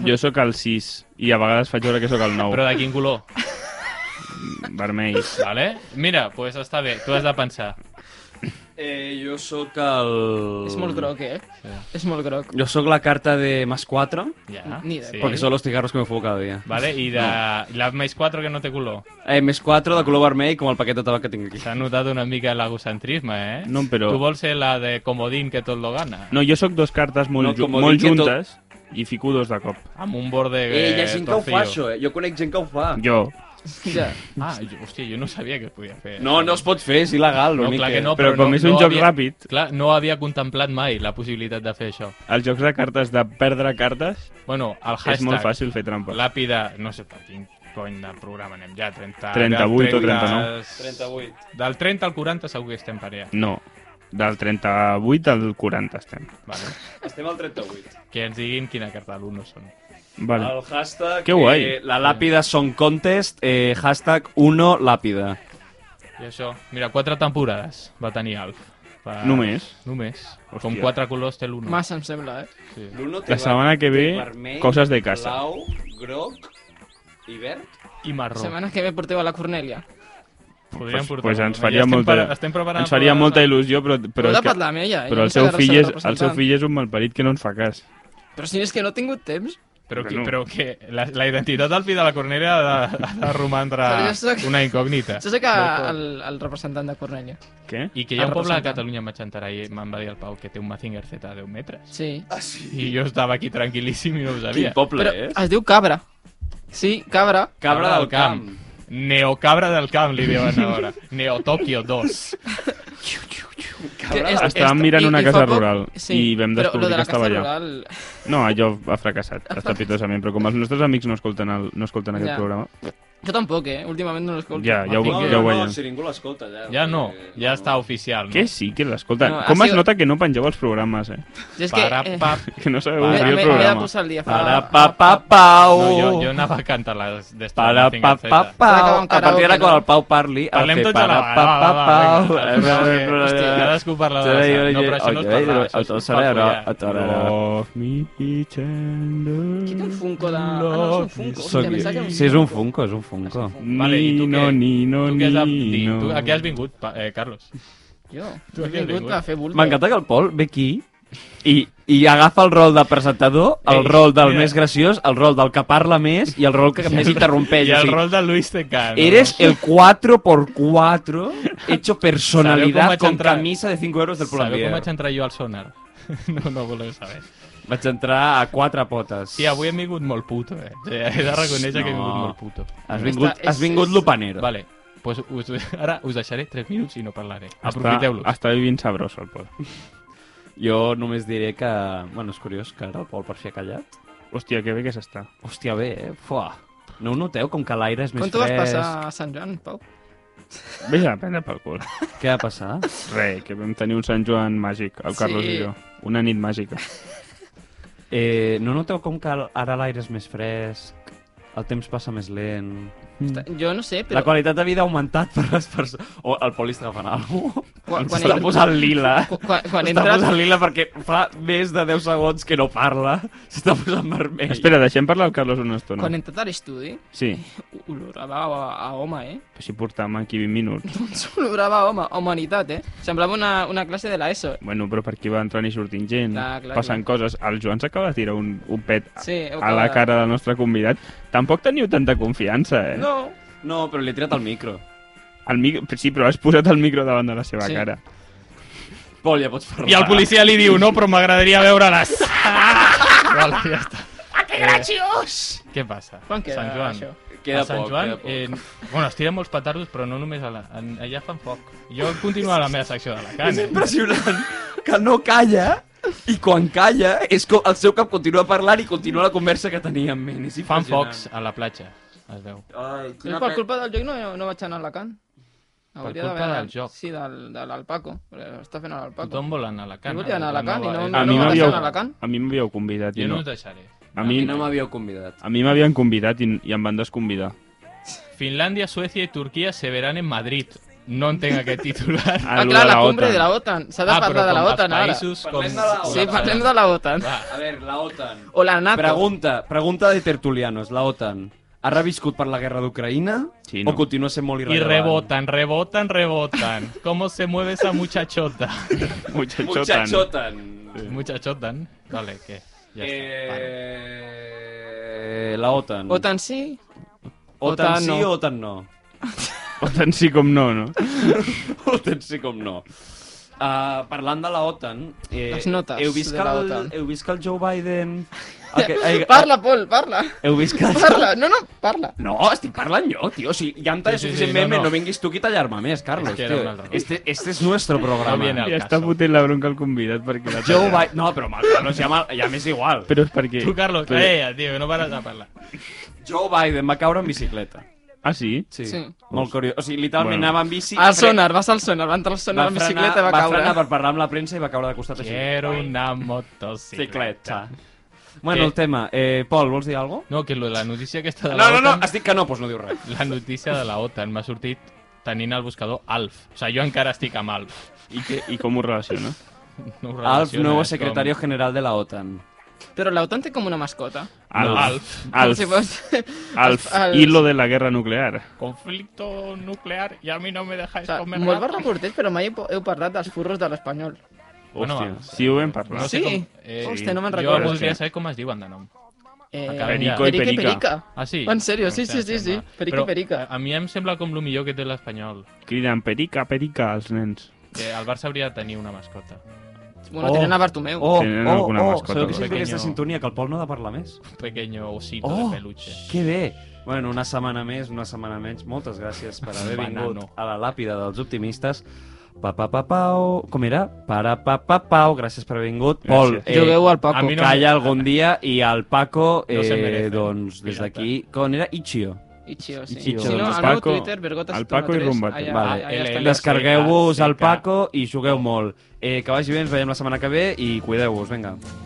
[SPEAKER 4] Jo sóc el 6 i a vegades faig veure que sóc el 9.
[SPEAKER 3] Però de quin color?
[SPEAKER 4] Vermell.
[SPEAKER 3] Vale? Mira, doncs pues està bé, tu has de pensar.
[SPEAKER 5] Eh, jo sóc el...
[SPEAKER 6] És molt groc, eh?
[SPEAKER 3] Sí.
[SPEAKER 6] És molt groc.
[SPEAKER 5] Jo sóc la carta de más 4,
[SPEAKER 3] Ja,
[SPEAKER 6] Ni idea.
[SPEAKER 5] perquè són els cigarros que me fumo cada dia.
[SPEAKER 3] Vale, i de no. la més 4 que no té color.
[SPEAKER 5] Eh, més 4 de color vermell, com el paquet de tabac que tinc aquí.
[SPEAKER 3] S'ha notat una mica l'egocentrisme, eh?
[SPEAKER 4] No, però-
[SPEAKER 3] Tu vols ser la de comodín que tot lo gana.
[SPEAKER 4] No, jo sóc dos cartes molt,
[SPEAKER 5] No,
[SPEAKER 4] ju
[SPEAKER 5] com ho
[SPEAKER 4] molt
[SPEAKER 5] dic, que tot-
[SPEAKER 4] juntes i fico dos de cop.
[SPEAKER 3] Amb un borde
[SPEAKER 5] Eh, hi ha gent que ho
[SPEAKER 3] torcido.
[SPEAKER 5] fa, això, eh? Jo conec gent que ho fa.
[SPEAKER 4] Jo.
[SPEAKER 6] Ja.
[SPEAKER 3] Ah, jo, hòstia, jo no sabia que es podia fer.
[SPEAKER 5] No, no es pot fer, és il·legal,
[SPEAKER 3] No,
[SPEAKER 5] l'únic
[SPEAKER 3] clar que no,
[SPEAKER 4] Però,
[SPEAKER 3] però,
[SPEAKER 4] com
[SPEAKER 3] no,
[SPEAKER 4] és un
[SPEAKER 3] no
[SPEAKER 4] joc
[SPEAKER 3] havia...
[SPEAKER 4] ràpid,
[SPEAKER 3] Clar, no havia contemplat mai la possibilitat de fer això.
[SPEAKER 4] els jocs de cartes de perdre cartes
[SPEAKER 3] Bueno, el hashtag...
[SPEAKER 4] és molt fàcil fer trampa.
[SPEAKER 3] Làpida, no sé per quin cony de programa anem ja, 30...
[SPEAKER 4] 38 o 39.
[SPEAKER 3] 38. Del 30 al 40 segur que estem parella.
[SPEAKER 4] No. Del 38 al 40 estem.
[SPEAKER 3] Vale.
[SPEAKER 5] Estem al 38.
[SPEAKER 3] Que ens diguin quina carta de l'Uno són.
[SPEAKER 4] Vale.
[SPEAKER 3] Ah,
[SPEAKER 5] El hashtag...
[SPEAKER 4] Que guai.
[SPEAKER 5] Eh, la làpida Song Contest, eh, hashtag 1 làpida.
[SPEAKER 3] I això, mira, quatre temporades va tenir Alf. Per...
[SPEAKER 4] Només?
[SPEAKER 3] Només.
[SPEAKER 4] Hòstia.
[SPEAKER 3] Com quatre colors té l'Uno.
[SPEAKER 6] Massa em sembla, eh?
[SPEAKER 3] Sí.
[SPEAKER 5] L'Uno
[SPEAKER 4] La setmana que ve, coses de casa.
[SPEAKER 5] Blau, groc i verd.
[SPEAKER 3] I marró.
[SPEAKER 6] Setmana que ve porteu a la Cornèlia.
[SPEAKER 3] Podríem
[SPEAKER 4] Pues-
[SPEAKER 3] portar
[SPEAKER 4] pues
[SPEAKER 3] marró.
[SPEAKER 4] ens faria
[SPEAKER 3] estem
[SPEAKER 4] molta-
[SPEAKER 3] pre- estem preparant
[SPEAKER 4] Ens faria
[SPEAKER 3] programes
[SPEAKER 4] molta
[SPEAKER 3] a-
[SPEAKER 4] il·lusió, però,
[SPEAKER 6] Però
[SPEAKER 4] però,
[SPEAKER 6] Heu
[SPEAKER 4] és
[SPEAKER 6] de
[SPEAKER 4] que,
[SPEAKER 6] parlar eh? amb ella.
[SPEAKER 4] però
[SPEAKER 6] ella
[SPEAKER 4] el, seu
[SPEAKER 6] s'agrada
[SPEAKER 4] fill
[SPEAKER 6] ser
[SPEAKER 4] és, el seu
[SPEAKER 6] representant.
[SPEAKER 4] fill és un malparit que no ens fa cas.
[SPEAKER 6] Però si és que no he tingut temps.
[SPEAKER 3] Però, que,
[SPEAKER 4] Bueno.
[SPEAKER 3] però que la, la identitat del fill de la Cornèlia ha de, ha de romandre
[SPEAKER 6] Però jo sóc-
[SPEAKER 3] una incògnita.
[SPEAKER 6] Jo sé que el, el representant de Cornèlia.
[SPEAKER 4] Què?
[SPEAKER 3] I que hi ha un
[SPEAKER 6] El
[SPEAKER 3] poble de
[SPEAKER 6] representant.
[SPEAKER 3] Catalunya, m'enxantarà, i me'n va dir el Pau, que té un Mazinger Z de 10 metres.
[SPEAKER 6] Sí.
[SPEAKER 3] I jo estava aquí tranquil·líssim i no ho sabia.
[SPEAKER 5] Quin poble
[SPEAKER 4] eh?
[SPEAKER 6] Però
[SPEAKER 5] és?
[SPEAKER 6] es diu Cabra. Sí, Cabra.
[SPEAKER 5] Cabra del Camp.
[SPEAKER 3] Neocabra del camp, li diuen ara. Neotòquio 2.
[SPEAKER 6] Que és-
[SPEAKER 4] Estàvem
[SPEAKER 6] és-
[SPEAKER 4] mirant
[SPEAKER 6] i-
[SPEAKER 4] una
[SPEAKER 6] i
[SPEAKER 4] casa
[SPEAKER 6] fa poc-
[SPEAKER 4] rural i vam
[SPEAKER 6] però
[SPEAKER 4] descobrir
[SPEAKER 6] lo de
[SPEAKER 4] que
[SPEAKER 6] la
[SPEAKER 4] estava
[SPEAKER 6] casa
[SPEAKER 4] allà.
[SPEAKER 6] rural-
[SPEAKER 4] No, allò ha fracassat, estrepitosament, però com els nostres amics no escolten, el, no escolten aquest
[SPEAKER 6] Ja.
[SPEAKER 4] programa...
[SPEAKER 6] Jo tampoc, eh? Últimament no l'escolto.
[SPEAKER 4] Ja, ja ho,
[SPEAKER 3] No, no,
[SPEAKER 4] ja ho
[SPEAKER 5] no,
[SPEAKER 4] veiem.
[SPEAKER 5] si ningú l'escolta, ja.
[SPEAKER 3] Ja no,
[SPEAKER 5] Eh,
[SPEAKER 3] ja està oficial. No?
[SPEAKER 4] Què sí que l'escolta?
[SPEAKER 6] No, ha
[SPEAKER 4] com es
[SPEAKER 6] sigut-
[SPEAKER 4] nota que no pengeu els programes, eh?
[SPEAKER 6] Jo és que...
[SPEAKER 3] Para,
[SPEAKER 6] eh,
[SPEAKER 3] pa,
[SPEAKER 4] Que no sabeu
[SPEAKER 3] Para,
[SPEAKER 4] obrir
[SPEAKER 6] M'he
[SPEAKER 4] el
[SPEAKER 6] m'he de
[SPEAKER 4] programa.
[SPEAKER 6] posar el dia. fa-
[SPEAKER 5] Para pa pa pau.
[SPEAKER 2] Oh!
[SPEAKER 3] no, jo, jo anava a cantar les d'esta.
[SPEAKER 5] Para pa pa pau.
[SPEAKER 6] Acaba un
[SPEAKER 5] A partir d'ara
[SPEAKER 6] karaoke,
[SPEAKER 5] quan
[SPEAKER 6] no?
[SPEAKER 5] el Pau parli, ha de
[SPEAKER 3] Parlem
[SPEAKER 5] fer
[SPEAKER 3] tots a la
[SPEAKER 5] para
[SPEAKER 3] vegada.
[SPEAKER 5] pa
[SPEAKER 3] va,
[SPEAKER 5] pa
[SPEAKER 3] va,
[SPEAKER 5] pau.
[SPEAKER 3] va, vinga. Hòstia, Cadascú parla de la seva. No, però això no és parlar, això és parlar.
[SPEAKER 4] Love me tender.
[SPEAKER 6] Qui té un Funko de... Ah, no, és un Funko.
[SPEAKER 5] Sóc
[SPEAKER 6] Hòstia, pensava que era
[SPEAKER 5] jo.
[SPEAKER 6] un
[SPEAKER 5] Sí, és un Funko, és un
[SPEAKER 2] Funko.
[SPEAKER 3] Vale, i tu
[SPEAKER 4] Nino,
[SPEAKER 3] què?
[SPEAKER 4] Nino,
[SPEAKER 3] tu què has, dit?
[SPEAKER 4] Nino.
[SPEAKER 3] tu, a què has vingut, pa- eh, Carlos?
[SPEAKER 6] Jo,
[SPEAKER 3] Tu
[SPEAKER 6] he
[SPEAKER 3] aquí has
[SPEAKER 6] vingut
[SPEAKER 3] vingut.
[SPEAKER 6] a fer bulto.
[SPEAKER 2] M'encanta que el Pol ve aquí i, i agafa el rol de presentador, el
[SPEAKER 3] Ei,
[SPEAKER 2] rol del
[SPEAKER 3] mira.
[SPEAKER 2] més graciós, el rol del que parla més i el rol que més interrompeix.
[SPEAKER 3] I
[SPEAKER 2] o
[SPEAKER 3] el
[SPEAKER 2] sigui,
[SPEAKER 3] rol de Luis Tecano.
[SPEAKER 2] Eres el 4x4 hecho
[SPEAKER 3] Sabeu com
[SPEAKER 2] personalidad
[SPEAKER 3] vaig
[SPEAKER 2] con
[SPEAKER 3] entrar?
[SPEAKER 2] camisa de 5 euros del
[SPEAKER 3] Sabeu com
[SPEAKER 2] Pull&Bear.
[SPEAKER 3] vaig entrar jo al sonar? *laughs* No, no voleu saber.
[SPEAKER 2] Vaig entrar a quatre potes.
[SPEAKER 3] Sí, avui hem vingut molt puto, eh? Sí, He de reconèixer que he vingut
[SPEAKER 2] No.
[SPEAKER 3] molt puto. Mm.
[SPEAKER 2] Has vingut,
[SPEAKER 6] Està- és-
[SPEAKER 2] has vingut
[SPEAKER 6] és-
[SPEAKER 2] lupanero.
[SPEAKER 3] Vale, pues us, *laughs* ara us deixaré 3 minuts i no parlaré.
[SPEAKER 4] Està,
[SPEAKER 3] Aprofiteu-los.
[SPEAKER 4] està vivint sabroso el Pol.
[SPEAKER 2] Jo només diré que... Bueno, és curiós que ara el Pol per fi ha callat.
[SPEAKER 4] Hòstia, que bé que s'està.
[SPEAKER 2] Hòstia, bé, eh? Fuà. No ho noteu, com que l'aire és més
[SPEAKER 6] Com t'ho vas
[SPEAKER 2] fresc?
[SPEAKER 6] passar a Sant Joan, Pau?
[SPEAKER 4] Vés a prendre pel cul.
[SPEAKER 2] Què va passar?
[SPEAKER 4] Re, que vam tenir un Sant Joan màgic, el
[SPEAKER 6] Sí.
[SPEAKER 4] Carlos i jo. Una nit màgica.
[SPEAKER 2] Eh, no noteu com que ara l'aire és més fresc? El temps passa més lent...
[SPEAKER 3] Mm.
[SPEAKER 6] Jo no sé,
[SPEAKER 2] Però... La
[SPEAKER 6] però...
[SPEAKER 2] qualitat de vida ha augmentat per les persones... O el Pol està agafant alguna cosa?
[SPEAKER 6] Quan, quan,
[SPEAKER 2] S'està posant lila.
[SPEAKER 6] quan, quan, quan
[SPEAKER 2] S'està
[SPEAKER 6] entres...
[SPEAKER 2] posant lila perquè fa més de 10 segons que no parla. S'està posant vermell.
[SPEAKER 4] Espera, deixem parlar al Carlos una estona.
[SPEAKER 6] Quan he entrat a l'estudi,
[SPEAKER 4] Sí,
[SPEAKER 6] olorava a, a home, eh?
[SPEAKER 4] però si portàvem aquí 20 minuts.
[SPEAKER 6] *laughs* Doncs olorava a home, a humanitat, eh? Semblava una, una classe de l'ESO, eh?
[SPEAKER 4] Bueno, però per aquí va entrant i sortint gent,
[SPEAKER 6] Clar, clar,
[SPEAKER 4] passen coses. El Joan s'acaba de tirar un, un pet a,
[SPEAKER 6] Sí, heu
[SPEAKER 4] a la
[SPEAKER 6] quedat.
[SPEAKER 4] cara del nostre convidat. Tampoc teniu tanta confiança, eh?
[SPEAKER 2] No, no, però li he tirat el micro.
[SPEAKER 4] El mic... Sí, però has posat el micro davant de la seva
[SPEAKER 6] Sí.
[SPEAKER 4] cara.
[SPEAKER 2] Pol, ja pots parlar.
[SPEAKER 3] I el policia li diu, no, però m'agradaria veure-les. vale, ja està. Ah, que graciós! Eh, què passa?
[SPEAKER 6] Quan queda
[SPEAKER 3] Sant Joan.
[SPEAKER 6] això?
[SPEAKER 2] Queda
[SPEAKER 3] a Sant
[SPEAKER 2] poc,
[SPEAKER 3] Joan,
[SPEAKER 2] queda poc.
[SPEAKER 3] Eh, bueno, es tiren molts petardos, però no només a la, en, allà fan foc. Jo continuo a la meva secció de la
[SPEAKER 2] És
[SPEAKER 3] carn. Eh?
[SPEAKER 2] impressionant que no calla i quan calla és com el seu cap continua parlant i continua la conversa que tenia en ment. És
[SPEAKER 3] Fan
[SPEAKER 2] impressionant.
[SPEAKER 3] focs a la platja, es veu.
[SPEAKER 2] Ai,
[SPEAKER 6] Jo per culpa del joc no, no vaig anar a Alacant.
[SPEAKER 3] culpa
[SPEAKER 6] d'haver anat-
[SPEAKER 3] del joc.
[SPEAKER 6] Sí, del, de l'Alpaco. perquè Està fent a l'Alpaco.
[SPEAKER 3] Tothom vol anar a la carn.
[SPEAKER 6] Jo volia anar a la carn i
[SPEAKER 4] A
[SPEAKER 6] No,
[SPEAKER 4] mi
[SPEAKER 6] no,
[SPEAKER 4] m'havíeu
[SPEAKER 6] passant a Alacant?
[SPEAKER 4] a mi m'havíeu convidat i
[SPEAKER 3] Jo no
[SPEAKER 4] no.
[SPEAKER 3] us deixaré.
[SPEAKER 4] A mi,
[SPEAKER 2] no m'havíeu convidat.
[SPEAKER 4] a mi m'havien convidat i, i em van desconvidar.
[SPEAKER 3] Finlàndia, Suècia i Turquia se veran en Madrid. No entenc aquest
[SPEAKER 6] *laughs*
[SPEAKER 3] titular.
[SPEAKER 6] Ah,
[SPEAKER 4] lo
[SPEAKER 6] clar,
[SPEAKER 4] de
[SPEAKER 6] la,
[SPEAKER 4] la
[SPEAKER 6] cumbre
[SPEAKER 4] OTAN.
[SPEAKER 6] de la OTAN. S'ha de parlar de la
[SPEAKER 3] Ah, com
[SPEAKER 6] OTAN
[SPEAKER 3] els
[SPEAKER 6] ara.
[SPEAKER 3] països com...
[SPEAKER 2] Parlem de la
[SPEAKER 6] Sí, parlem de la OTAN.
[SPEAKER 3] Va.
[SPEAKER 2] A veure, la OTAN.
[SPEAKER 6] O la NATO.
[SPEAKER 2] Pregunta, pregunta de tertulianos, la OTAN. Ha reviscut per la guerra d'Ucraïna
[SPEAKER 4] Sí, no.
[SPEAKER 2] o continua sent molt
[SPEAKER 3] Y
[SPEAKER 2] irrellevant?
[SPEAKER 3] rebotan, rebotan, rebotan. ¿Cómo se mueve esa muchachota? *laughs*
[SPEAKER 4] Muchachotan.
[SPEAKER 2] Muchachotan.
[SPEAKER 3] muchachotan. Vale, ¿qué? Ya está. vale.
[SPEAKER 2] Eh... La OTAN.
[SPEAKER 6] OTAN sí.
[SPEAKER 2] OTAN,
[SPEAKER 6] OTAN
[SPEAKER 2] sí
[SPEAKER 6] no.
[SPEAKER 2] o OTAN no? *laughs*
[SPEAKER 4] O tant sí com no, no?
[SPEAKER 2] OTAN sí com no. Uh, parlant de la OTAN, eh,
[SPEAKER 6] Les notes
[SPEAKER 2] heu, vist
[SPEAKER 6] de
[SPEAKER 2] que
[SPEAKER 6] la
[SPEAKER 2] el,
[SPEAKER 6] OTAN.
[SPEAKER 2] heu vist que el Joe
[SPEAKER 6] *laughs*
[SPEAKER 2] Biden... El que, ai,
[SPEAKER 6] Parla, Pol,
[SPEAKER 3] *laughs*
[SPEAKER 6] parla.
[SPEAKER 2] Heu vist que...
[SPEAKER 6] Parla. No, no, parla.
[SPEAKER 2] No, estic parlant jo, tio. O sigui, ja em talles
[SPEAKER 3] Sí,
[SPEAKER 2] sí,
[SPEAKER 3] sí, sí,
[SPEAKER 2] suficient sí, sí, meme, no.
[SPEAKER 3] no, no.
[SPEAKER 2] no vinguis tu aquí a tallar-me més, Carlos.
[SPEAKER 3] És que
[SPEAKER 2] Es
[SPEAKER 3] era un
[SPEAKER 2] tio.
[SPEAKER 3] altre.
[SPEAKER 2] Este, este és nuestro programa.
[SPEAKER 3] No viene al
[SPEAKER 4] I està
[SPEAKER 3] caso.
[SPEAKER 4] fotent la bronca al convidat perquè la
[SPEAKER 2] Joe Biden... No, però mal, Carlos, ja, mal, ja m'és igual.
[SPEAKER 4] Però és perquè...
[SPEAKER 3] Tú, Carlos, eh.
[SPEAKER 4] però-
[SPEAKER 3] calla, tío, que no paras de parlar.
[SPEAKER 2] Joe Biden va caure en bicicleta.
[SPEAKER 4] Ah, sí?
[SPEAKER 2] Sí.
[SPEAKER 6] Sí. Ah,
[SPEAKER 2] Molt curiós. O sigui, literalment
[SPEAKER 4] Bueno.
[SPEAKER 2] bueno. anava en bici...
[SPEAKER 6] Al
[SPEAKER 2] fre-
[SPEAKER 6] sonar, vas al sonar, va entrar al sonar, la bicicleta i va
[SPEAKER 2] Va frenar
[SPEAKER 6] caure.
[SPEAKER 2] per parlar amb la premsa i va caure de costat així.
[SPEAKER 3] Quiero una motocicleta.
[SPEAKER 2] Bicicleta. Bueno,
[SPEAKER 3] Eh.
[SPEAKER 2] el tema. Eh, Pol, vols dir alguna
[SPEAKER 3] No, que lo de la notícia aquesta de
[SPEAKER 2] cosa?
[SPEAKER 3] la
[SPEAKER 2] No, no, no,
[SPEAKER 3] OTAN...
[SPEAKER 2] estic que no, doncs no diu res.
[SPEAKER 3] La notícia de la OTAN m'ha sortit tenint el buscador ALF. O sigui, jo encara estic amb ALF.
[SPEAKER 4] I, què, I com ho relaciona?
[SPEAKER 3] No ho
[SPEAKER 2] Alf,
[SPEAKER 3] relaciona,
[SPEAKER 2] nuevo
[SPEAKER 3] és com-
[SPEAKER 2] secretario general de la OTAN.
[SPEAKER 6] Però la OTAN té com una mascota.
[SPEAKER 4] Alf.
[SPEAKER 3] Alf.
[SPEAKER 4] Alf.
[SPEAKER 6] Si vols-
[SPEAKER 4] Alf.
[SPEAKER 6] Alf.
[SPEAKER 4] Hilo de la guerra nuclear.
[SPEAKER 3] Conflicto nuclear y a mí no me
[SPEAKER 6] O
[SPEAKER 3] dejáis
[SPEAKER 6] sigui,
[SPEAKER 3] comer
[SPEAKER 6] molt
[SPEAKER 3] ratas.
[SPEAKER 6] barra curtet, però mai heu, heu parlat dels furros de l'espanyol.
[SPEAKER 3] Bueno,
[SPEAKER 4] Hòstia,
[SPEAKER 3] Alf.
[SPEAKER 4] sí ho vam parlar.
[SPEAKER 3] No sé
[SPEAKER 6] sí?
[SPEAKER 3] com- eh,
[SPEAKER 6] Hòstia, no me'n
[SPEAKER 3] Jo
[SPEAKER 6] recordo.
[SPEAKER 3] voldria saber com es diuen de nom.
[SPEAKER 6] Eh,
[SPEAKER 3] Acabem ja.
[SPEAKER 4] Perico i
[SPEAKER 6] Perico
[SPEAKER 4] Perica.
[SPEAKER 3] Ah, sí?
[SPEAKER 6] En sèrio, sí,
[SPEAKER 3] Hòstia,
[SPEAKER 6] sí, sí,
[SPEAKER 3] sembla.
[SPEAKER 6] sí. Perico i
[SPEAKER 3] Però
[SPEAKER 6] Perica.
[SPEAKER 3] A, a mi em sembla com el millor que té l'Espanyol.
[SPEAKER 4] Criden perica, perica als nens.
[SPEAKER 3] Que el Barça hauria de tenir una mascota.
[SPEAKER 6] Bueno,
[SPEAKER 2] Oh.
[SPEAKER 6] tenen a Bartomeu.
[SPEAKER 4] Tenen alguna mascota,
[SPEAKER 2] sabeu que
[SPEAKER 4] no?
[SPEAKER 2] sempre aquesta
[SPEAKER 3] Pequeño.
[SPEAKER 2] sintonia, que el Pol no ha de parlar més.
[SPEAKER 3] Un pequeño osito
[SPEAKER 2] Oh,
[SPEAKER 3] de peluche.
[SPEAKER 2] que bé! Bueno, una setmana més, una setmana menys. Moltes gràcies per haver
[SPEAKER 3] Banano.
[SPEAKER 2] vingut a la làpida dels optimistes. Pa, pa, pa, pau... Com era? Para, pa, pa, pau. Gràcies per haver vingut. Pol,
[SPEAKER 4] Gràcies.
[SPEAKER 2] eh,
[SPEAKER 6] Jugueu al Paco.
[SPEAKER 3] a mi no-
[SPEAKER 2] calla algun dia i al Paco,
[SPEAKER 3] No se
[SPEAKER 2] eh,
[SPEAKER 3] merece,
[SPEAKER 2] doncs, des
[SPEAKER 3] pirata.
[SPEAKER 2] d'aquí... Com era? Ichio.
[SPEAKER 6] Ichio, sí.
[SPEAKER 2] Ichio.
[SPEAKER 6] Si no,
[SPEAKER 2] El
[SPEAKER 6] al meu
[SPEAKER 4] Paco-
[SPEAKER 6] Twitter, Vergotas
[SPEAKER 4] el Paco i
[SPEAKER 6] 113,
[SPEAKER 4] Rumba.
[SPEAKER 6] allà-
[SPEAKER 2] Vale.
[SPEAKER 6] allà estan
[SPEAKER 3] LL.
[SPEAKER 6] les-
[SPEAKER 3] Descargueu.
[SPEAKER 2] Descargueu-vos
[SPEAKER 3] sí,
[SPEAKER 2] al
[SPEAKER 3] que-
[SPEAKER 2] Paco i jugueu molt. Eh, que vagi bé, ens veiem la setmana que ve i cuideu-vos, vinga.